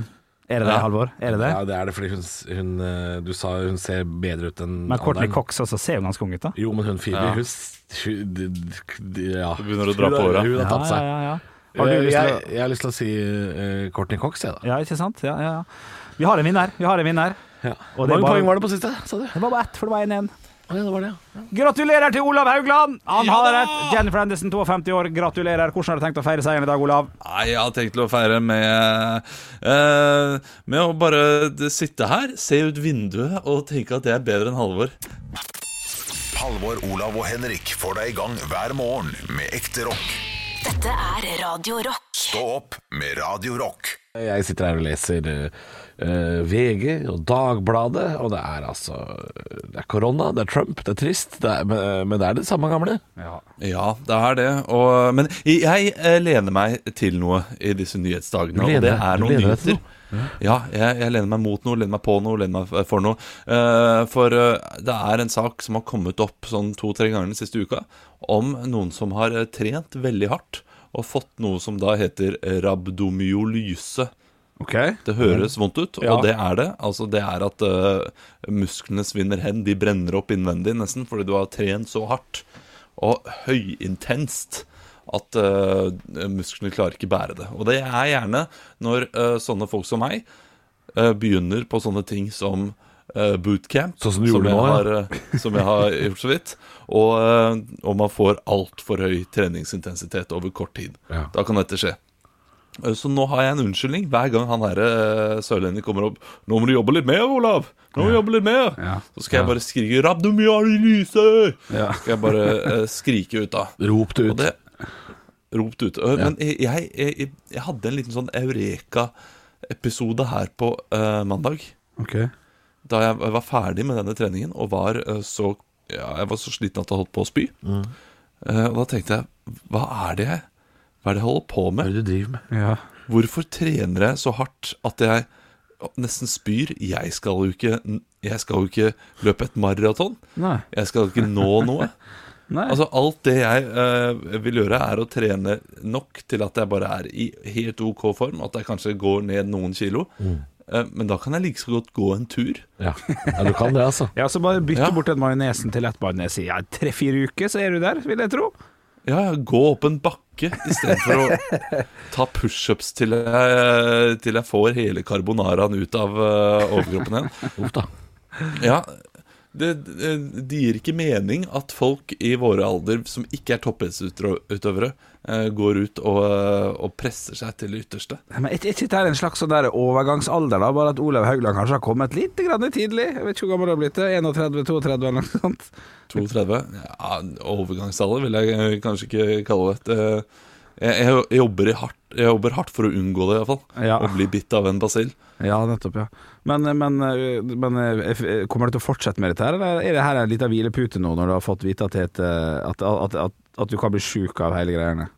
Er det det, Ja. Halvor? Er det det? Ja, det er det fordi hun, hun eh, Du sa hun ser bedre ut enn Men Courtney alderen. Cox også ser jo ganske ung ut, da. Jo, men hun Phoebe, Ja. hun, s- hun d- d- d- ja. Du begynner å dra Hun på har- håret. Hun har tatt seg. Eh, Ja, ja, ja. Har du lyst til jeg, jeg har lyst til å si eh, Courtney Cox, jeg, da. å Ja, ikke sant? Ja, ja, ja. Vi har en vinner. Vi har en vinner. Og Hvor det er mange bare- poeng var det på siste, sa du? Det var bare ett, for det var 1-1. Ja, det var det, ja. Gratulerer til Olav Haugland! Han Ja har da! rett. Jennifer Anderson, 52 år. Gratulerer. Hvordan har du tenkt å feire seieren i dag, Olav? Nei, jeg har tenkt til å feire med eh, Med å bare d- sitte her, se ut vinduet og tenke at jeg er bedre enn Halvor. Halvor, Olav og Henrik får deg i gang hver morgen med ekte rock. Dette er Radio Rock. Stå opp med Radio Rock. Jeg sitter her og leser eh, VG og Dagbladet, og det er altså Det er korona, det er Trump, det er trist, det er, men, men det er det samme gamle. Ja, det er det. Og, men jeg eh, lener meg til noe i disse nyhetsdagene, Du lener- og det er du noen lener deg til nyheter. Ja, jeg, jeg lener meg mot noe, lener meg på noe, lener meg for noe. Eh, for eh, det er en sak som har kommet opp sånn to-tre ganger den siste uka, om noen som har eh, trent veldig hardt og fått noe som da heter rabdomyolyse. Ok Det høres vondt ut, og Ja. det er det. Altså Det er at øh, musklene svinner hen. De brenner opp innvendig, nesten, fordi du har trent så hardt og høyintenst at øh, musklene klarer ikke bære det. Og det er gjerne når øh, sånne folk som meg øh, begynner på sånne ting som øh, bootcamp, Sånn som du gjorde jeg nå, ja. har, øh, som jeg har gjort så vidt, og, øh, og man får altfor høy treningsintensitet over kort tid. Ja. Da kan dette skje. Eh, Så nå har jeg en unnskyldning hver gang han her eh, sørlendingen kommer opp. 'Nå må du jobbe litt mer, Olav! Nå må du jobbe litt mer!' Ja. Så skal jeg bare skrike 'Rabdomyalyse!' Ja. Skal jeg bare eh, skrike ut, da. Rop det ut. Og det ropt ut. Eh, Men jeg, jeg, jeg, jeg hadde en liten sånn eureka-episode her på eh, mandag. Da jeg var ferdig med denne treningen og var eh, så ja, Jeg var så sliten at jeg holdt på å spy. Mm. Eh, og da tenkte jeg Hva er det jeg Hva er det jeg holder på Hva med? er det du driver med? Ja. Hvorfor trener jeg så hardt at jeg nesten spyr? Jeg skal jo ikke, jeg skal jo ikke løpe et maraton. Nei. Jeg skal ikke nå noe. Nei. Altså Alt det jeg eh, vil gjøre, er å trene nok til at jeg bare er i helt OK form. At jeg kanskje går ned noen kilo. Eh, Men da kan jeg like så godt gå en tur. Ja. ja, du kan det, altså. Ja, så bare bytte Ja. bort den majonesen til lettmajones i ja, tre-fire uker, så er du der, vil jeg tro. Ja, ja, gå opp en bakke istedenfor å ta pushups til, jeg- til jeg får hele carbonaraen ut av eh, overkroppen igjen. Uff da. Ja, det, det det gir ikke mening at folk i våre alder som ikke er toppidrettsutøvere, eh, går ut og, eh, og presser seg til det ytterste. Nei, Men jeg sitter her en slags sånn der overgangsalder, da, bare at Olav Haugland kanskje har kommet litt grann tidlig. Jeg vet ikke hvor gammel han har blitt, 31-32 eller noe sånt. 32? Ja, overgangsalder vil jeg eh, kanskje ikke kalle det. Eh, Jeg, jeg, jeg, jobber, i hardt, jeg jobber hardt for å unngå det, iallfall. Ja. Å bli bitt av en basill. Ja, nettopp, ja. Men, men, men eh, kommer du til å fortsette med dette her, eller er det her en liten hvilepute nå, når du har fått vite at, det heter- at, at, at, at du kan bli sjuk av hele greiene?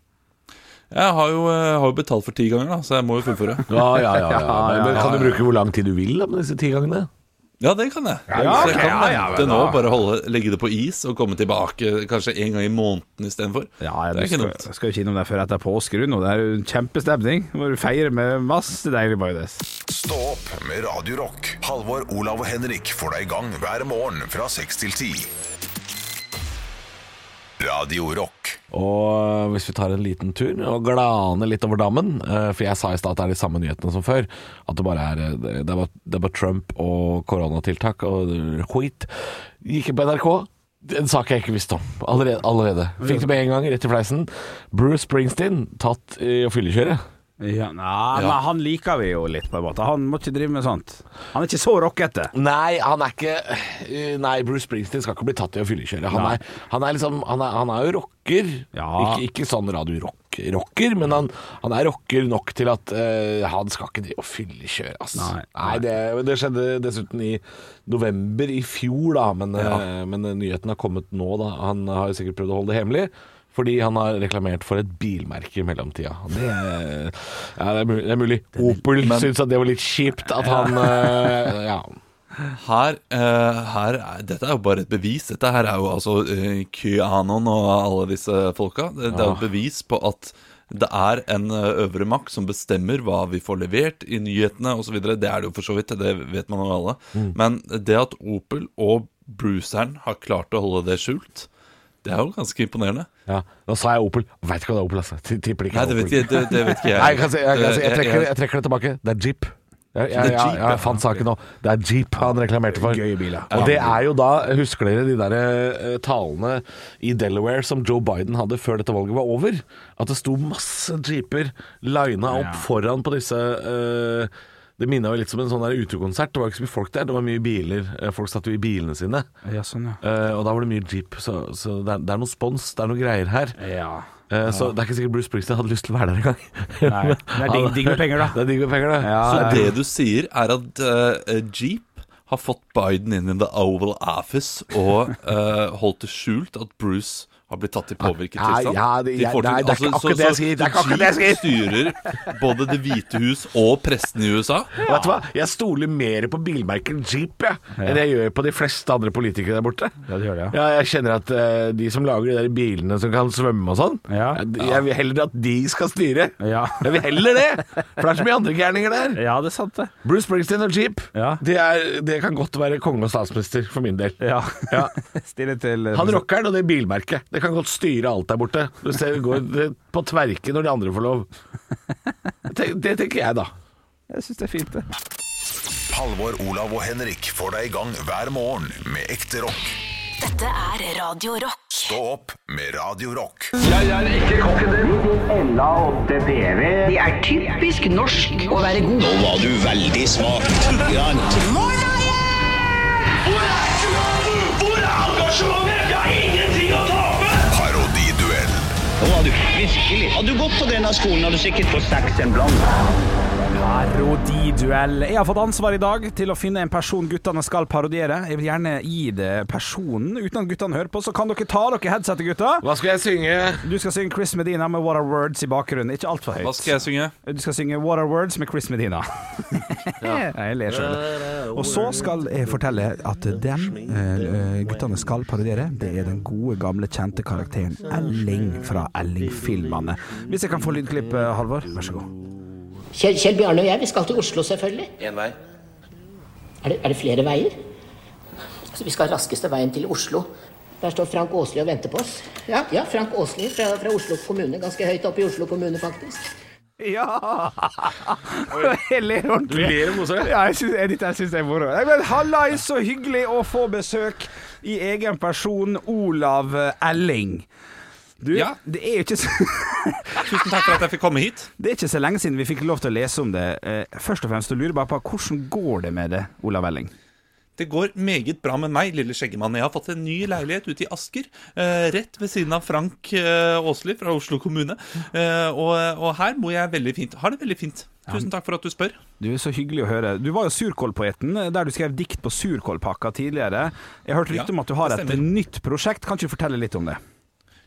Jeg har jo, eh, har jo betalt for ti ganger, da, så jeg må jo fullføre. Ja, ja, ja. ja. Ja, ja, Men kan ja, du bruke hvor lang tid du vil da, med disse ti gangene? Ja, det kan jeg. så jeg ok, kan ja, ja, vente men nå, da- bare holde, legge det på is og komme tilbake eh, kanskje en gang i måneden istedenfor. Ja, det er ikke skal, dumt. skal jo ikke innom deg før etter påske, du, nå. Det er jo en kjempestemning. Må du feire med masse deilig majones. Stå opp med Radio Rock. Halvor, Olav og Henrik får deg i gang hver morgen fra 6 til 10. Radio Rock. Og hvis vi tar en liten tur og glaner litt over dammen eh, For jeg sa i stad at det er de samme nyhetene som før. At det bare er eh, Det er bare, det er bare Trump og koronatiltak og skit. Gikk inn på NRK. En sak jeg ikke visste om allerede. allerede. Fikk det med en gang, rett i fleisen. Bruce Springsteen tatt i å fyllekjøre. Ja, nei, men han liker vi jo litt, på en måte. Han må ikke drive med sånt. Han er ikke så rockete. Nei, han er ikke eh, Nei, Bruce Springsteen skal ikke bli tatt i å fyllekjøre. Han, Nei. er- han er liksom Han er, han er jo rocker. Ja. Ikke, ikke sånn radio-rocker, men han, han er rocker nok til at eh, han skal ikke drive og fyllekjøre, ass. Nei, det, det skjedde dessuten i november i fjor, da, men, eh, men eh, nyheten har kommet nå, da. Han har jo sikkert prøvd å holde det hemmelig. Fordi han har reklamert for et bilmerke i mellomtida. Det, er- ja, det, er mulig, det er mulig. Opel syntes at det var litt kjipt at han eh, Ja. Her, eh, her er, Dette er jo bare et bevis. Dette her er jo altså eh, QAnon og alle disse folka. Det, det er jo et bevis på at det er en eh, øvre makt som bestemmer hva vi får levert i nyhetene osv. Det er det jo for så vidt, det vet man jo alle. Men det at Opel og Bruceren har klart å holde det skjult, det er jo ganske imponerende. Ja, Nå sa jeg Opel. Veit ikke hva det er Opel, altså. T- Tipper det ikke Nei, er det Opel. vet, ikke- det, det vet ikke jeg. Nei, jeg, kan si, jeg, kan si, jeg, Det- trekker, jeg trekker det tilbake. Det er Jeep. Jeg, jeg, Det er jeg, Jeep, jeg, ja. fant saken nå. Det er Jeep han reklamerte for. Gøye biler. Og det er jo da, husker dere de der eh, talene i Delaware som Joe Biden hadde før dette valget var over? At det sto masse jeeper lina opp foran på disse eh, Det minna jo litt som en sånn der utekonsert. Det var ikke så mye folk der, det var mye biler. Eh, Folk satt jo i bilene sine. Ja, sånn, ja. Eh, og da var det mye jeep, så, så det, er, det er noe spons, det er noe greier her. Ja. Eh, Så det er ikke sikkert Bruce Springsteen hadde lyst til å være der engang. Nei. Men det er digg, digg med penger, da. Det er digg med penger, det. Ja, Så ja. det du sier er at eh, Jeep har fått Biden inn i The Oval Office og eh, holdt det skjult at Bruce har blitt tatt i påvirket Nei, tilstand? Ah, ja, det- De jeg- får til- altså, nei, det er ikke akkurat det jeg sier, det er ikke akkurat det jeg Jeep styrer både Det hvite hus og presten i USA? Vet du hva? Jeg stoler mer på bilmerken Jeep jeg, enn jeg gjør på de fleste andre politikere der borte. Ja, det gjør det, ja. Ja, jeg kjenner at eh, de som lager de der bilene som kan svømme og sånn, Ja. jeg, jeg vil heller at de skal styre. Ja. Jeg vil heller det! For det er så mye andre gærninger der. Ja, det er sant, det. Bruce Springsteen og Jeep, Ja. det, er, det kan godt være konge og statsminister for min del. Ja. Ja. Stille til eh, Han rockeren og det bilmerket. Det kan godt styre alt der borte. Du ser, det går det- på tverke når de andre får lov. Det, det tenker jeg, da. Jeg syns det er fint, det. Halvor, Olav og Henrik får deg i gang hver morgen med ekte rock. Dette er Radio Rock. Stå opp med Radio Rock. Det er typisk norsk å være god. Nå var du veldig smak. Hvor er engasjementet? Jeg har ingenting å tape! Parodiduell. Nå var du virkelig. Hadde du gått på denne skolen, hadde du sikkert fått seks en blant. Parodiduell. Jeg har fått ansvar i dag til å finne en person guttene skal parodiere. Jeg vil gjerne gi det personen, uten at guttene hører på. Så kan dere ta dere headsetet, gutta. Hva skal jeg synge? Du skal synge Chris Medina med What Are Words i bakgrunnen. Ikke altfor Hva høyt. skal jeg synge? Du skal synge What Are Words med Chris Medina. Jeg ler sjøl. Og så skal jeg fortelle at den eh, guttene skal parodiere, det er den gode, gamle, kjente karakteren Elling fra Elling-filmene. Hvis jeg kan få lydklipp, eh, Halvor? Vær så god. Kjell, Kjell Bjarne og jeg, vi skal til Oslo, selvfølgelig. Én vei. Er det, er det flere veier? Altså, vi skal raskeste veien til Oslo. Der står Frank Åsli og venter på oss. Ja, ja Frank Åsli fra, fra Oslo kommune. Ganske høyt oppe i Oslo kommune, faktisk. Ja! Jeg ler Du ordentlig. ler om også? Ja, jeg syns, Edith, jeg syns det er moro. Nei, Men hallais, så hyggelig å få besøk i egen person, Olav eh, Elling. Du, det er jo ikke så Tusen takk for at jeg fikk komme hit. Det er ikke så lenge siden vi fikk lov til å lese om det. Eh, Først og fremst, du lurer bare på hvordan går det med det, Olav Elling? Det går meget bra med meg, lille skjeggemann. Jeg har fått en ny leilighet ute i Asker, eh, rett ved siden av Frank eh, Åsli fra Oslo kommune. Eh, og, og her bor jeg veldig fint. Har det veldig fint. Tusen takk for at du spør. Du er så hyggelig å høre. Du var jo surkålpoeten, eh, der du skrev dikt på surkålpakka tidligere. Jeg hørte Ja, rykte om at du har det et stemmer. nytt prosjekt. Kan ikke du fortelle litt om det?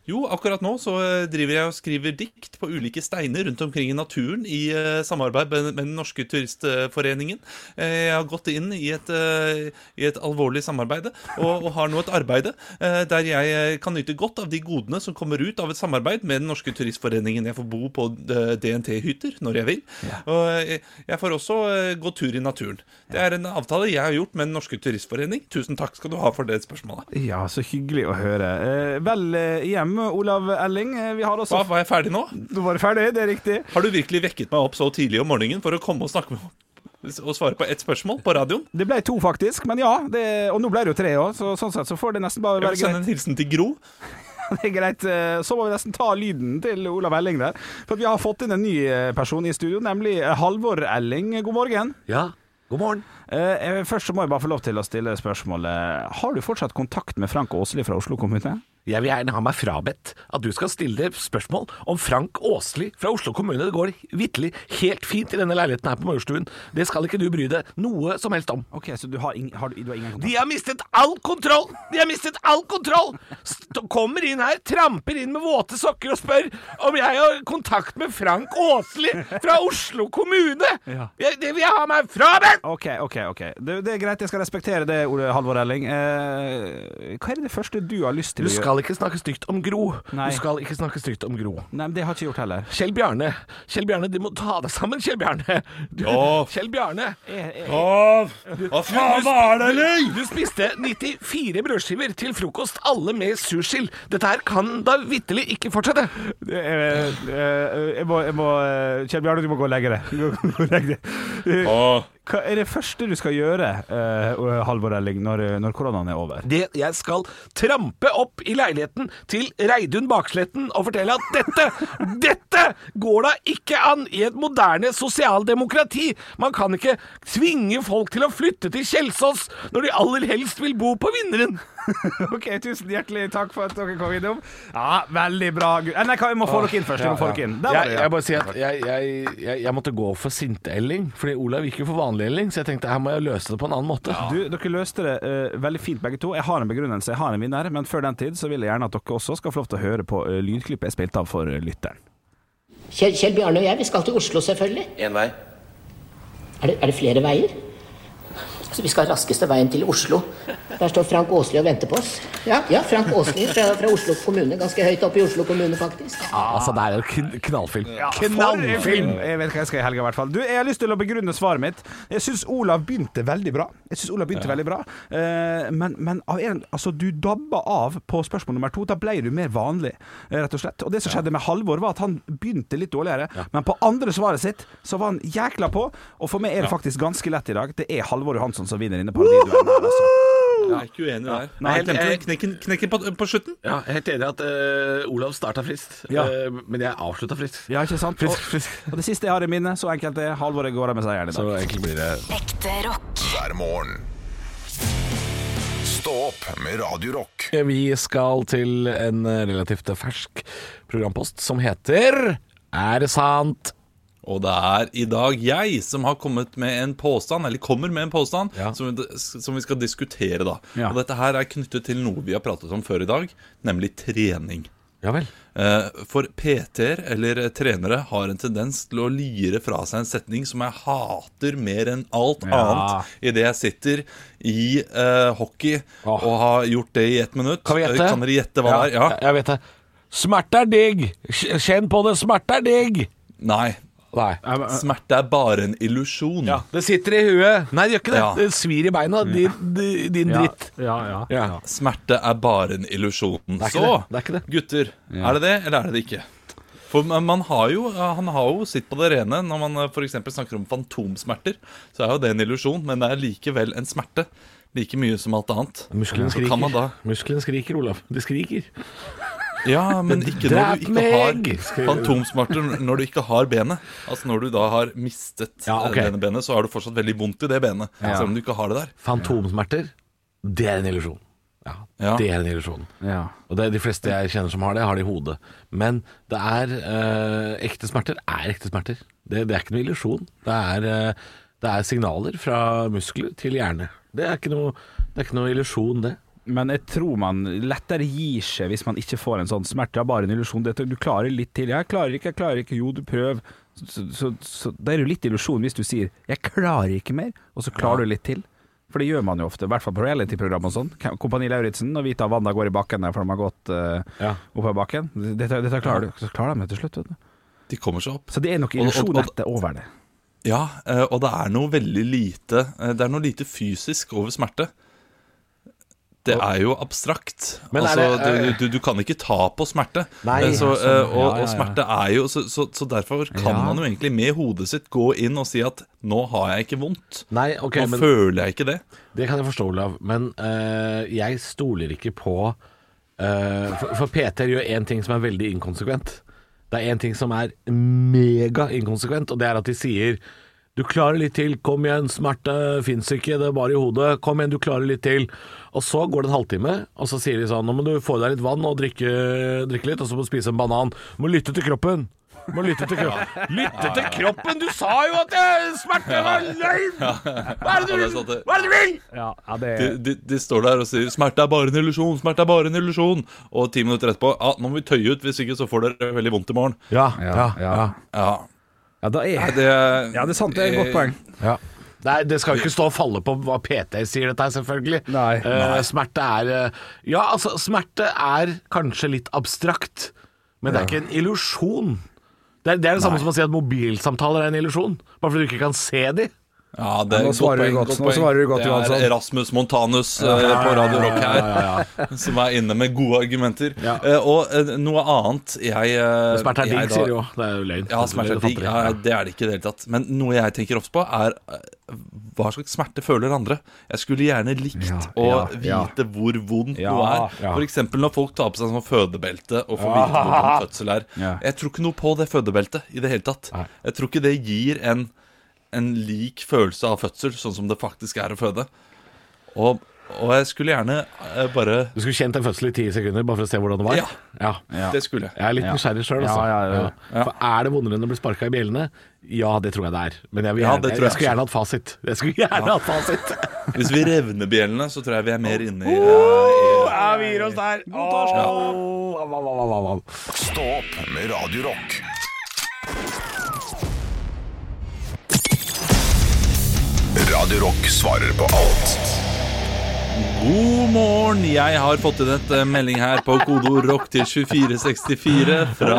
Jo, akkurat nå så eh, driver jeg og skriver dikt på ulike steiner rundt omkring i naturen i eh, samarbeid med, med Den norske turistforeningen. Eh, Jeg har gått inn i et, eh, i et alvorlig samarbeid og, og har nå et arbeide eh, der jeg eh, kan nyte godt av de godene som kommer ut av et samarbeid med Den norske turistforeningen. Jeg får bo på eh, DNT-hytter når jeg vil. Og eh, jeg får også eh, gå tur i naturen. Det er en avtale jeg har gjort med Den norske turistforening. Tusen takk skal du ha for det spørsmålet. Ja, så hyggelig å høre. Eh, vel eh, hjem, Olav Elling. Eh, Vi har også Hva, var jeg ferdig nå? Nå var du ferdig, det er riktig. Har du virkelig vekket meg opp så tidlig om morgenen for å komme og snakke med og svare på ett spørsmål på radioen? Det ble to, faktisk. Men ja, det, og nå ble det jo tre òg, så sånn sett så får det nesten bare Jeg vil være sende en greit. hilsen til Gro. Det er greit. Eh, Så må vi nesten ta lyden til Olav Elling der. For at vi har fått inn en ny eh, person i studio, nemlig eh, Halvor Elling. God morgen. Eh, Ja, god morgen. Først så må jeg bare få lov til å stille spørsmålet. Har du fortsatt kontakt med Frank Åsli fra Oslo kommune? Jeg vil gjerne ha meg frabedt at du skal stille spørsmål om Frank Åsli fra Oslo kommune. Det går vitterlig helt fint i denne leiligheten her på Majorstuen. Det skal ikke du bry deg noe som helst om. Ok, Så du har, ingen De har mistet all kontroll! De har mistet all kontroll! St kommer inn her, tramper inn med våte sokker og spør om jeg har kontakt med Frank Åsli fra Oslo kommune! Ja. Jeg, det vil jeg ha meg frabedt! OK, OK. ok det, det er greit, jeg skal respektere det, Ole Halvor Elling. Eh, hva er det første du har lyst til Du å gjøre? skal ikke snakke stygt om Gro. Nei. Du skal ikke snakke stygt om Gro. Nei, men Det har jeg ikke gjort heller. Kjell Bjarne, Kjell Bjarne, du må ta deg sammen, Kjell Bjarne. Du, Ja. Kjell Bjarne. Hva faen hva er det, eller? Du spiste 94 brødskiver til frokost, alle med sursild. Dette her kan da vitterlig ikke fortsette. Det er- eh, jeg må, jeg må eh, Kjell Bjarne, du må gå og legge deg. Du må gå og legge deg. Eh, Hva er det første du skal gjøre, eh, Halvor Elling, når, når koronaen er over? Det jeg skal trampe opp i leiligheten til Reidun Baksletten og fortelle at dette, dette går da ikke an i et moderne sosialdemokrati. Man kan ikke tvinge folk til å flytte til Kjelsås når de aller helst vil bo på Vinneren. Ok, Tusen hjertelig takk for at dere kom innom. Ja, Veldig bra. Gud. Eh, Nei, hva- jeg må få dere inn først. Jeg må få dere inn. Der var Jeg, det, jeg ja. bare sier at jeg, jeg, jeg, jeg måtte gå for sinte-Elling, fordi Olav gikk jo for vanlig-Elling, så jeg tenkte her må jeg løse det på en annen måte. Du, Dere løste det eh, veldig fint begge to. Jeg har en begrunnelse, jeg har en vinner. Men før den tid så vil jeg gjerne at dere også skal få lov til å høre på eh, lydklippet jeg spilte av for eh, lytteren. Kjell, Kjell Bjarne og jeg, vi skal til Oslo, selvfølgelig. Én vei. Er det, er det flere veier? Altså, vi skal raskeste veien til Oslo. Der står Frank Åsli og venter på oss. Ja, ja Frank Åsli fra, fra Oslo kommune. Ganske høyt oppe i Oslo kommune, faktisk. Altså, det er jo kn- knallfilm. Knallfilm! knallfilm! Jeg vet hva jeg skal i helga, i hvert fall. Du, jeg har lyst til å begrunne svaret mitt. Jeg syns Olav begynte veldig bra. Jeg synes Olav begynte veldig bra Eh, Men, men av en, altså, du dabba av på spørsmål nummer to. Da ble du mer vanlig, eh, rett og slett. Og det som skjedde med Halvor, var at han begynte litt dårligere. Men på andre svaret sitt så var han jækla på. Og for meg er det faktisk ganske lett i dag. Det er Halvor Johansson som vinner inne på paradiduellen her, altså. Jeg er ikke uenig der. Nei, jeg glemte den knekken, knekken på, på slutten. Ja, jeg er helt enig i at eh, Olav starta frist, Ja. eh, men jeg avslutta frist. Ja, ikke sant? Og, og det siste jeg har i minne, så enkelt er Halvor jeg går av med seieren i dag. Så egentlig blir det Ekte rock. hver morgen. Stå opp med Radio Rock. Vi skal til en eh, relativt fersk programpost som heter Er det sant? Og det er i dag jeg som har kommet med en påstand, eller kommer med en påstand, Ja. som, vi- som vi skal diskutere da. Ja. Og dette her er knyttet til noe vi har pratet om før i dag, nemlig trening. Ja vel. Eh, For PT-er, eller eh, trenere, har en tendens til å lire fra seg en setning som jeg hater mer enn alt Ja. annet idet jeg sitter i eh, hockey og har gjort det i ett minutt. Kan, gjette? kan dere gjette hva det er? Ja. Jeg vet det. Smerte er digg! Kj- Kjenn på det, smerte er digg! Nei. Smerte er bare en illusjon. Det sitter i huet. Nei, det gjør ikke det. Ja. Mm. Det svir i beina. Din, di- din dritt. Smerte er bare en illusjon. Det er ikke Så, det. Det er ikke det. gutter, Ja. er det det, eller er det det ikke? For man man har jo, Han har jo sitt på det rene. Når man f.eks. snakker om fantomsmerter, så er jo det en illusjon, men det er likevel en smerte. Like mye som alt annet. Musklene Så kan man da skriker. Musklene skriker, Olav. De skriker. Ja, men ikke når Drep du ikke har meg! Skriver du. fantomsmerter når du ikke har benet. Altså når du da har mistet ja, ok. denne benet, så har du fortsatt veldig vondt i det benet. Ja. Selv om du ikke har det der. Fantomsmerter, det er en illusjon. Ja, Ja. Det er en illusjon. Ja. Og det er De fleste jeg kjenner som har det, har det i hodet. Men det er eh, ekte smerter er ekte smerter. Det, det er ikke noe illusjon. Det, er, eh, det er signaler fra muskler til hjerne. Det er ikke noe, det er ikke noe illusjon, det. Men jeg tror man lettere gir seg hvis man ikke får en sånn smerte. Det er bare en illusjon. Dette- Du klarer litt til. Jeg klarer ikke, jeg klarer ikke. Jo, du prøv. Så, så, så det er jo litt illusjon hvis du sier 'jeg klarer ikke mer', og så klarer du litt til. For det gjør man jo ofte, i hvert fall på reality-program og sånn. Kompani Lauritzen og Vita og Wanda går i bakken der for de har gått eh, opp av bakken. Dette, dette klarer du. Så klarer de det til slutt, vet du. De kommer seg opp. Så det er nok Og- og- illusjon og- etter over det. Ja, eh, og det er noe veldig lite eh, Det er noe lite fysisk over smerte. Det er jo abstrakt. Men er altså, det, eh, du, du, du kan ikke ta på smerte. Nei, Eh, så, ja, sånn. eh, og, Ja, ja, og ja. smerte er jo Så, så, så derfor kan Ja. man jo egentlig med hodet sitt gå inn og si at 'nå har jeg ikke vondt'. Nei, ok, nå men- føler jeg ikke det. Det kan jeg forstå, Olav, men eh, jeg stoler ikke på eh, for, for Peter gjør én ting som er veldig inkonsekvent. Det er én ting som er mega inkonsekvent, og det er at de sier du klarer litt til, kom igjen, smerte fins ikke, det er bare i hodet, kom igjen, du klarer litt til. Og så går det en halvtime, og så sier de sånn, nå må du få i deg litt vann og drikke, drikke litt, og så må du spise en banan. Du må lytte til kroppen. Du må lytte til kroppen. Lytte til kroppen! Du sa jo at eh, smerte var løgn! Hva er det du Ja, det er sånn vil? sant det. Hva er det du vil? Ja, det De, de, de står der og sier 'smerte er bare en illusjon', 'smerte er bare en illusjon'. Og ti minutter etterpå ja, 'nå må vi tøye ut, hvis ikke så får dere veldig vondt i morgen'. Ja, ja, ja. Ja, Ja, da er Nei, det, Ja, det er sant. Det er et godt poeng. Ja. Nei, Det skal jo ikke stå og falle på hva PT sier dette her, selvfølgelig. Nei. Eh, smerte er eh, Ja, altså, smerte er kanskje litt abstrakt, men det er ikke en illusjon. Det er det, er det samme som å si at mobilsamtaler er en illusjon, bare fordi du ikke kan se de. Ja, det er Nå et svarer du poeng, godt, nå poeng. svarer du godt, Det Johansson. er Rasmus Montanus eh, på Radio Rock her, som er inne med gode argumenter. Eh, og eh, noe annet jeg eh, Smerte er jeg digg, da- sier de òg. Det er jo løgn. Ja, smerte er digg. Ja, det er det ikke i det hele tatt. Men noe jeg tenker ofte på, er eh, hva slags smerte føler andre? Jeg skulle gjerne likt å ja, vite hvor vondt Ja, noe er. ja. For eksempel når folk tar på seg sånn fødebelte og får vite hvor vondt fødsel er. Ja. Jeg tror ikke noe på det fødebeltet i det hele tatt. Jeg tror ikke det gir en, en lik følelse av fødsel, sånn som det faktisk er å føde. Og, og jeg skulle gjerne eh, bare Du skulle kjent en fødsel i ti sekunder bare for å se hvordan det var? Ja. Det skulle jeg. Jeg er litt nysgjerrig sjøl, altså. Ja, ja, ja. For er det vondere enn å bli sparka i bjellene? Ja, det tror jeg det er. Men jeg, vil Ja, gjerne, det jeg, tror skulle jeg også. gjerne hatt fasit. Jeg skulle gjerne hatt fasit. Hvis vi revner bjellene, så tror jeg vi er mer inne i, eh, Oh, Ja, vi gir oss der. Åh, av, av, av, av, av. Stå opp med Radio Rock. Radio Rock svarer på alt. God morgen! Jeg har fått inn et eh, melding her på kodeord rock til 2464 fra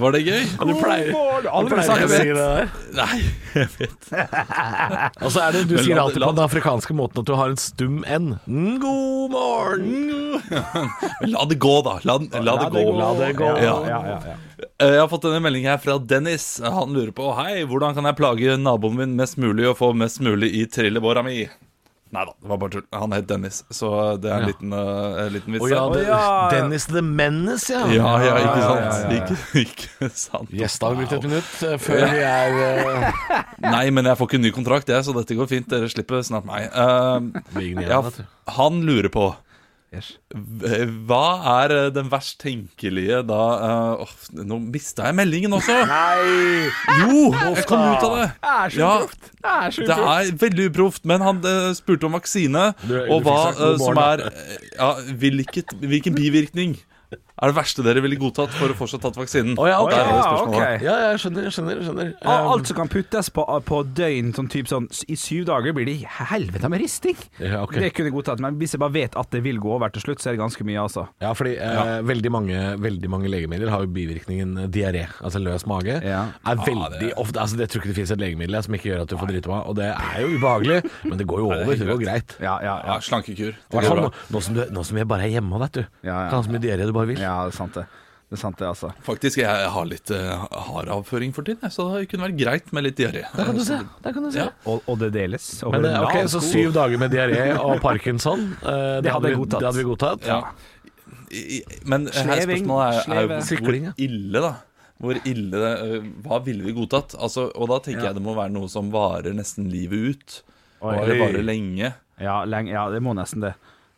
Var det gøy? Du pleier, du pleier ikke sagt å det. si det der. Nei, jeg vet Og så er det, Du Men sier la- alltid la- på den afrikanske måten at du har en stum N. Mm, God morgen! Men La det gå, da. La, la, det, gå. La det gå. Ja. Eh, Jeg har fått en melding her fra Dennis. Han lurer på Hei, hvordan kan jeg plage naboen min mest mulig og få mest mulig i trillebåra mi? Nei da, det var bare tull. Han het Dennis, så det er en liten, eh, en liten vits. Og ja, her. det, Dennis the Menace, ja. ja, ja, ikke sant? Ikke, ikke sant. Yes, da har vi brukt et minutt eh, før vi er eh, Nei, men jeg får ikke ny kontrakt, jeg, så dette går fint. Dere slipper snart meg. Eh, Big Nina, ja, vet du. han lurer på Yes. v- Hva er eh, den verst tenkelige da eh, åh, Nå mista jeg meldingen også! Nei! Jo, jeg kom ut av det! er så Ja, proft. Det er så Det proft. er veldig uproft, men han eh, spurte om vaksine, Du- du og hva fikk sagt god eh, som morgen, er eh, Ja, hvilket, hvilken bivirkning er det verste dere ville godtatt for å fortsatt tatt vaksinen? Å ja, ok. Der har vi Ja, spørsmålet. ok. Ja, jeg skjønner, skjønner, skjønner. Al- Alt som kan puttes på, på døgn, sånn typ sånn s- I syv dager blir det i helvete med risting! Um, Ja, ok. Det kunne jeg godtatt, men hvis jeg bare vet at det vil gå over til slutt, så er det ganske mye, altså. Ja, fordi eh, Veldig, mange, veldig mange legemidler har jo bivirkningen eh, diaré, altså løs mage. Er veldig ofte, altså Det tror jeg ikke det finnes et legemiddel som ikke gjør at du får drite på deg. Og det er jo ubehagelig, men det går jo over. Det går greit. Ja, ja, ja. Slankekur. I hvert fall nå, nå, som du, nå som jeg bare er hjemme, vet du. Ja, ja. Kan ha så mye diaré du bare vil. Ja, det er sant det. Det er sant det, altså. Faktisk, jeg har litt uh, hardavføring for tiden, jeg, så det kunne vært greit med litt diaré. Der kan du se. Der kan du se. Ja. Og, og det deles. over Men eh, en ok, lav Så sko. syv dager med diaré og parkinson, eh, Det hadde jeg vi- godtatt. Det hadde vi godtatt. Ja. I- i- Men eh, her er Sleving, spørsmålet er, er sleve. jo Sykling, ja. hvor ille, da. Hvor ille det, øh, Hva ville vi godtatt? Altså, og da tenker jeg det må være noe som varer nesten livet ut. Oi. Eller varer lenge. Ja, lenge, ja, det må nesten det.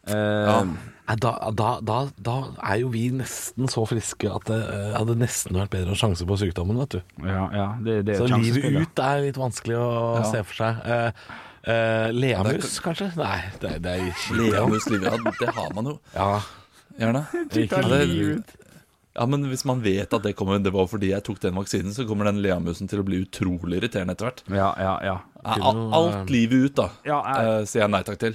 Eh, Nei, Da, da, da, da er jo vi nesten så friske at det eh, hadde nesten vært bedre sjanse på sykdommen, vet du. ja, ja, det, det er Så et livet sjansespill, ja. ut er litt vanskelig å se for seg. Eh, eh, Leamus, kanskje? Nei, det, det er kjipt. Levende livet, ja, det har man jo Ja. gjerne. Ikke Ja, det- Ja, men hvis man vet at det kommer Det var fordi jeg tok den vaksinen, så kommer den leamusen til å bli utrolig irriterende etter hvert. Ja, ja, ja. Ja, al- Alt livet ut, da, Ja, jeg- eh, sier jeg nei takk til.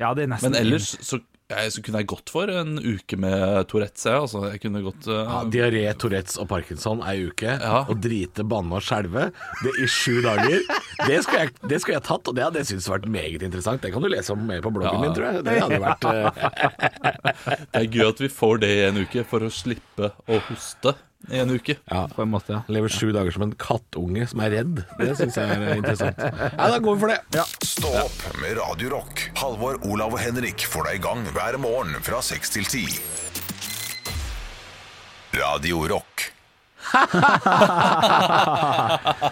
ja, det er nesten Men ellers så, jeg, så kunne jeg gått for en uke med Tourettes, jeg. Altså, jeg kunne gått eh, Ja, diaré, Tourettes og parkinson ei uke. Ja. Og drite, banne og skjelve Det i sju dager. Det skulle jeg, det skulle jeg tatt, og det hadde jeg syntes vært meget interessant. Det kan du lese om mer på bloggen Ja. min, tror jeg. Det hadde vært eh, Det er gøy at vi får det i en uke, for å slippe å hoste i en uke. på en måte, ja. Lever sju dager som en kattunge som er redd. Det syns jeg er interessant. Nei, da går vi for det. Stå opp med Radio Rock. Halvor, Olav og Henrik får deg i gang hver morgen fra 6 til 10. Radio Rock.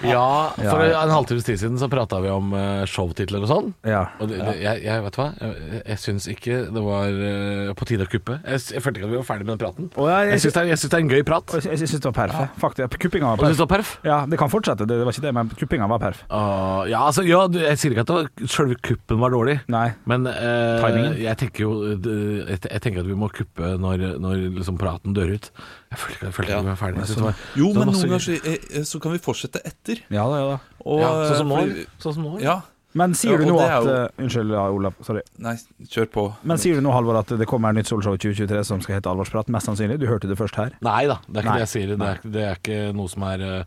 Ja, for en halvtimes tid siden så prata vi om eh, showtitler og sånn. Ja. Og det, det, jeg, jeg vet du hva, jeg, jeg syns ikke det var eh, på tide å kuppe. Jeg, s- jeg følte ikke at vi var ferdig med den praten. Å, ja, jeg- jeg syns det, er- jeg syns det er en gøy prat. Og Jeg, jeg syns det var perf. Faktisk. Kuppinga var Og du syns perf. det var perf? Ja, det kan fortsette, det, det var ikke det, men kuppinga var perf. Ah, ja, altså, ja, du- jeg sier ikke at det var, selve kuppen var dårlig. Nei. Men eh, Timingen? jeg tenker jo det- jeg, jeg tenker at vi må kuppe når, når liksom praten dør ut. Jeg føler ikke, jeg føler ikke at vi er ferdig. Jeg synes det var- det Jo, var men masse noen ganger gøy. så, eh, eh, så kan vi fortsette etter. Ja da, ja da. Og, ja, Sånn som nå? eh, fordi- Sånn som nå? Ja. Men sier Ja, du og nå det er at jo- eh, Unnskyld, ja, Olav. Sorry. Nei, kjør på. Men sier du nå, Halvor, at det kommer nytt solshow i 2023 som skal hete Alvorsprat? Mest sannsynlig. Du hørte det først her. Nei da, det er ikke Nei. det jeg sier. Det er, det er ikke noe som er eh,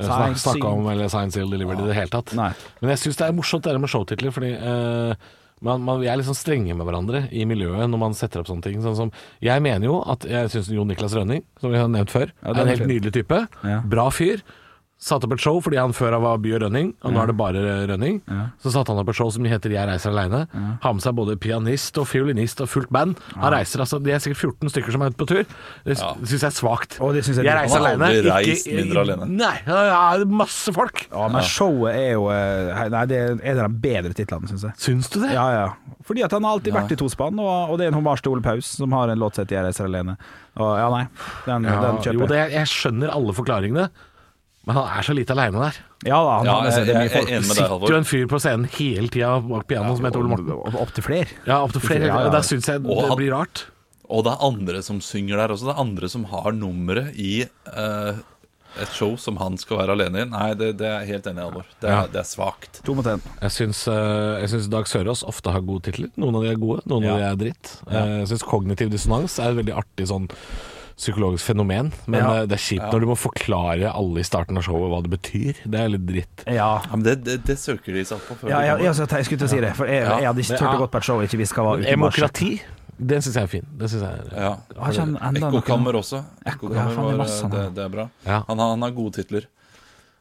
snak, Science snakka om eller science seal delivered i det hele tatt. Nei. Men jeg syns det er morsomt det der med showtitler, fordi eh, man, man, vi er liksom strenge med hverandre i miljøet når man setter opp sånne ting. Sånn som, jeg mener jo at jeg syns Jon Niklas Rønning, som vi har nevnt før, Ja, det er en er helt fint. nydelig type. Ja. Bra fyr. Satte opp et show fordi han før var By og Rønning, og nå er det bare Rønning. Så satte han opp et show som heter Jeg reiser aleine. Har med seg både pianist og fiolinist og fullt band. Han reiser altså, De er sikkert 14 stykker som er ute på tur. Det sy- syns jeg er svakt. Å, det synes jeg jeg er- reiser Han har alene. aldri ikke- reist mindre alene. Nei, ja, det er masse folk. Ja, men showet er jo eh, hei, Nei, det er en av de bedre titlene, syns jeg. Syns du det? Ja, ja. Fordi at han har alltid vært i tospann, og, og det er en hommage til Ole Paus, som har en låt som heter 'Jeg reiser alene'. Og ja, nei, den, den Ja, jo, kjøper det, jeg. jeg skjønner alle forklaringene, men han er så lite aleine der. Ja da, han, Ja, han er, jeg, det er jeg mye er folk. enig med deg, Sitter jo Halvor. en fyr på scenen hele tida bak pianoet som heter Ole Morten. Opptil flere. Ja, opptil flere. Ja, ja. Og Da syns jeg Og det han- blir rart. Og det er andre som synger der også. Det er andre som har nummeret i eh, et show som han skal være alene i. Nei, det, det er jeg helt enig i, Halvor. Det, er- det er svakt. To mot én. Jeg syns, eh, jeg syns Dag Sørås ofte har gode titler. Noen av de er gode, noen Ja. av de er dritt. Eh, Jeg syns kognitiv dissonans er et veldig artig sånn psykologisk fenomen. Men Ja. eh, det er kjipt når du må forklare alle i starten av showet hva det betyr. Det er litt dritt. Ja. Ja, men det, det, det søker de seg opp på før Ja, de jeg, kommer. jeg, jeg, jeg skulle til å si det, for jeg, jeg hadde ikke turt å gå på et show jeg ikke visste hva var utenbars. Demokrati, det syns jeg er fin. Det syns jeg er Ja. Har ikke han enda noe- Ekkokammer også. ja, Ekkokammer faen, det er var, masse han det, har. det er bra. Ja. Han, har, han har gode titler.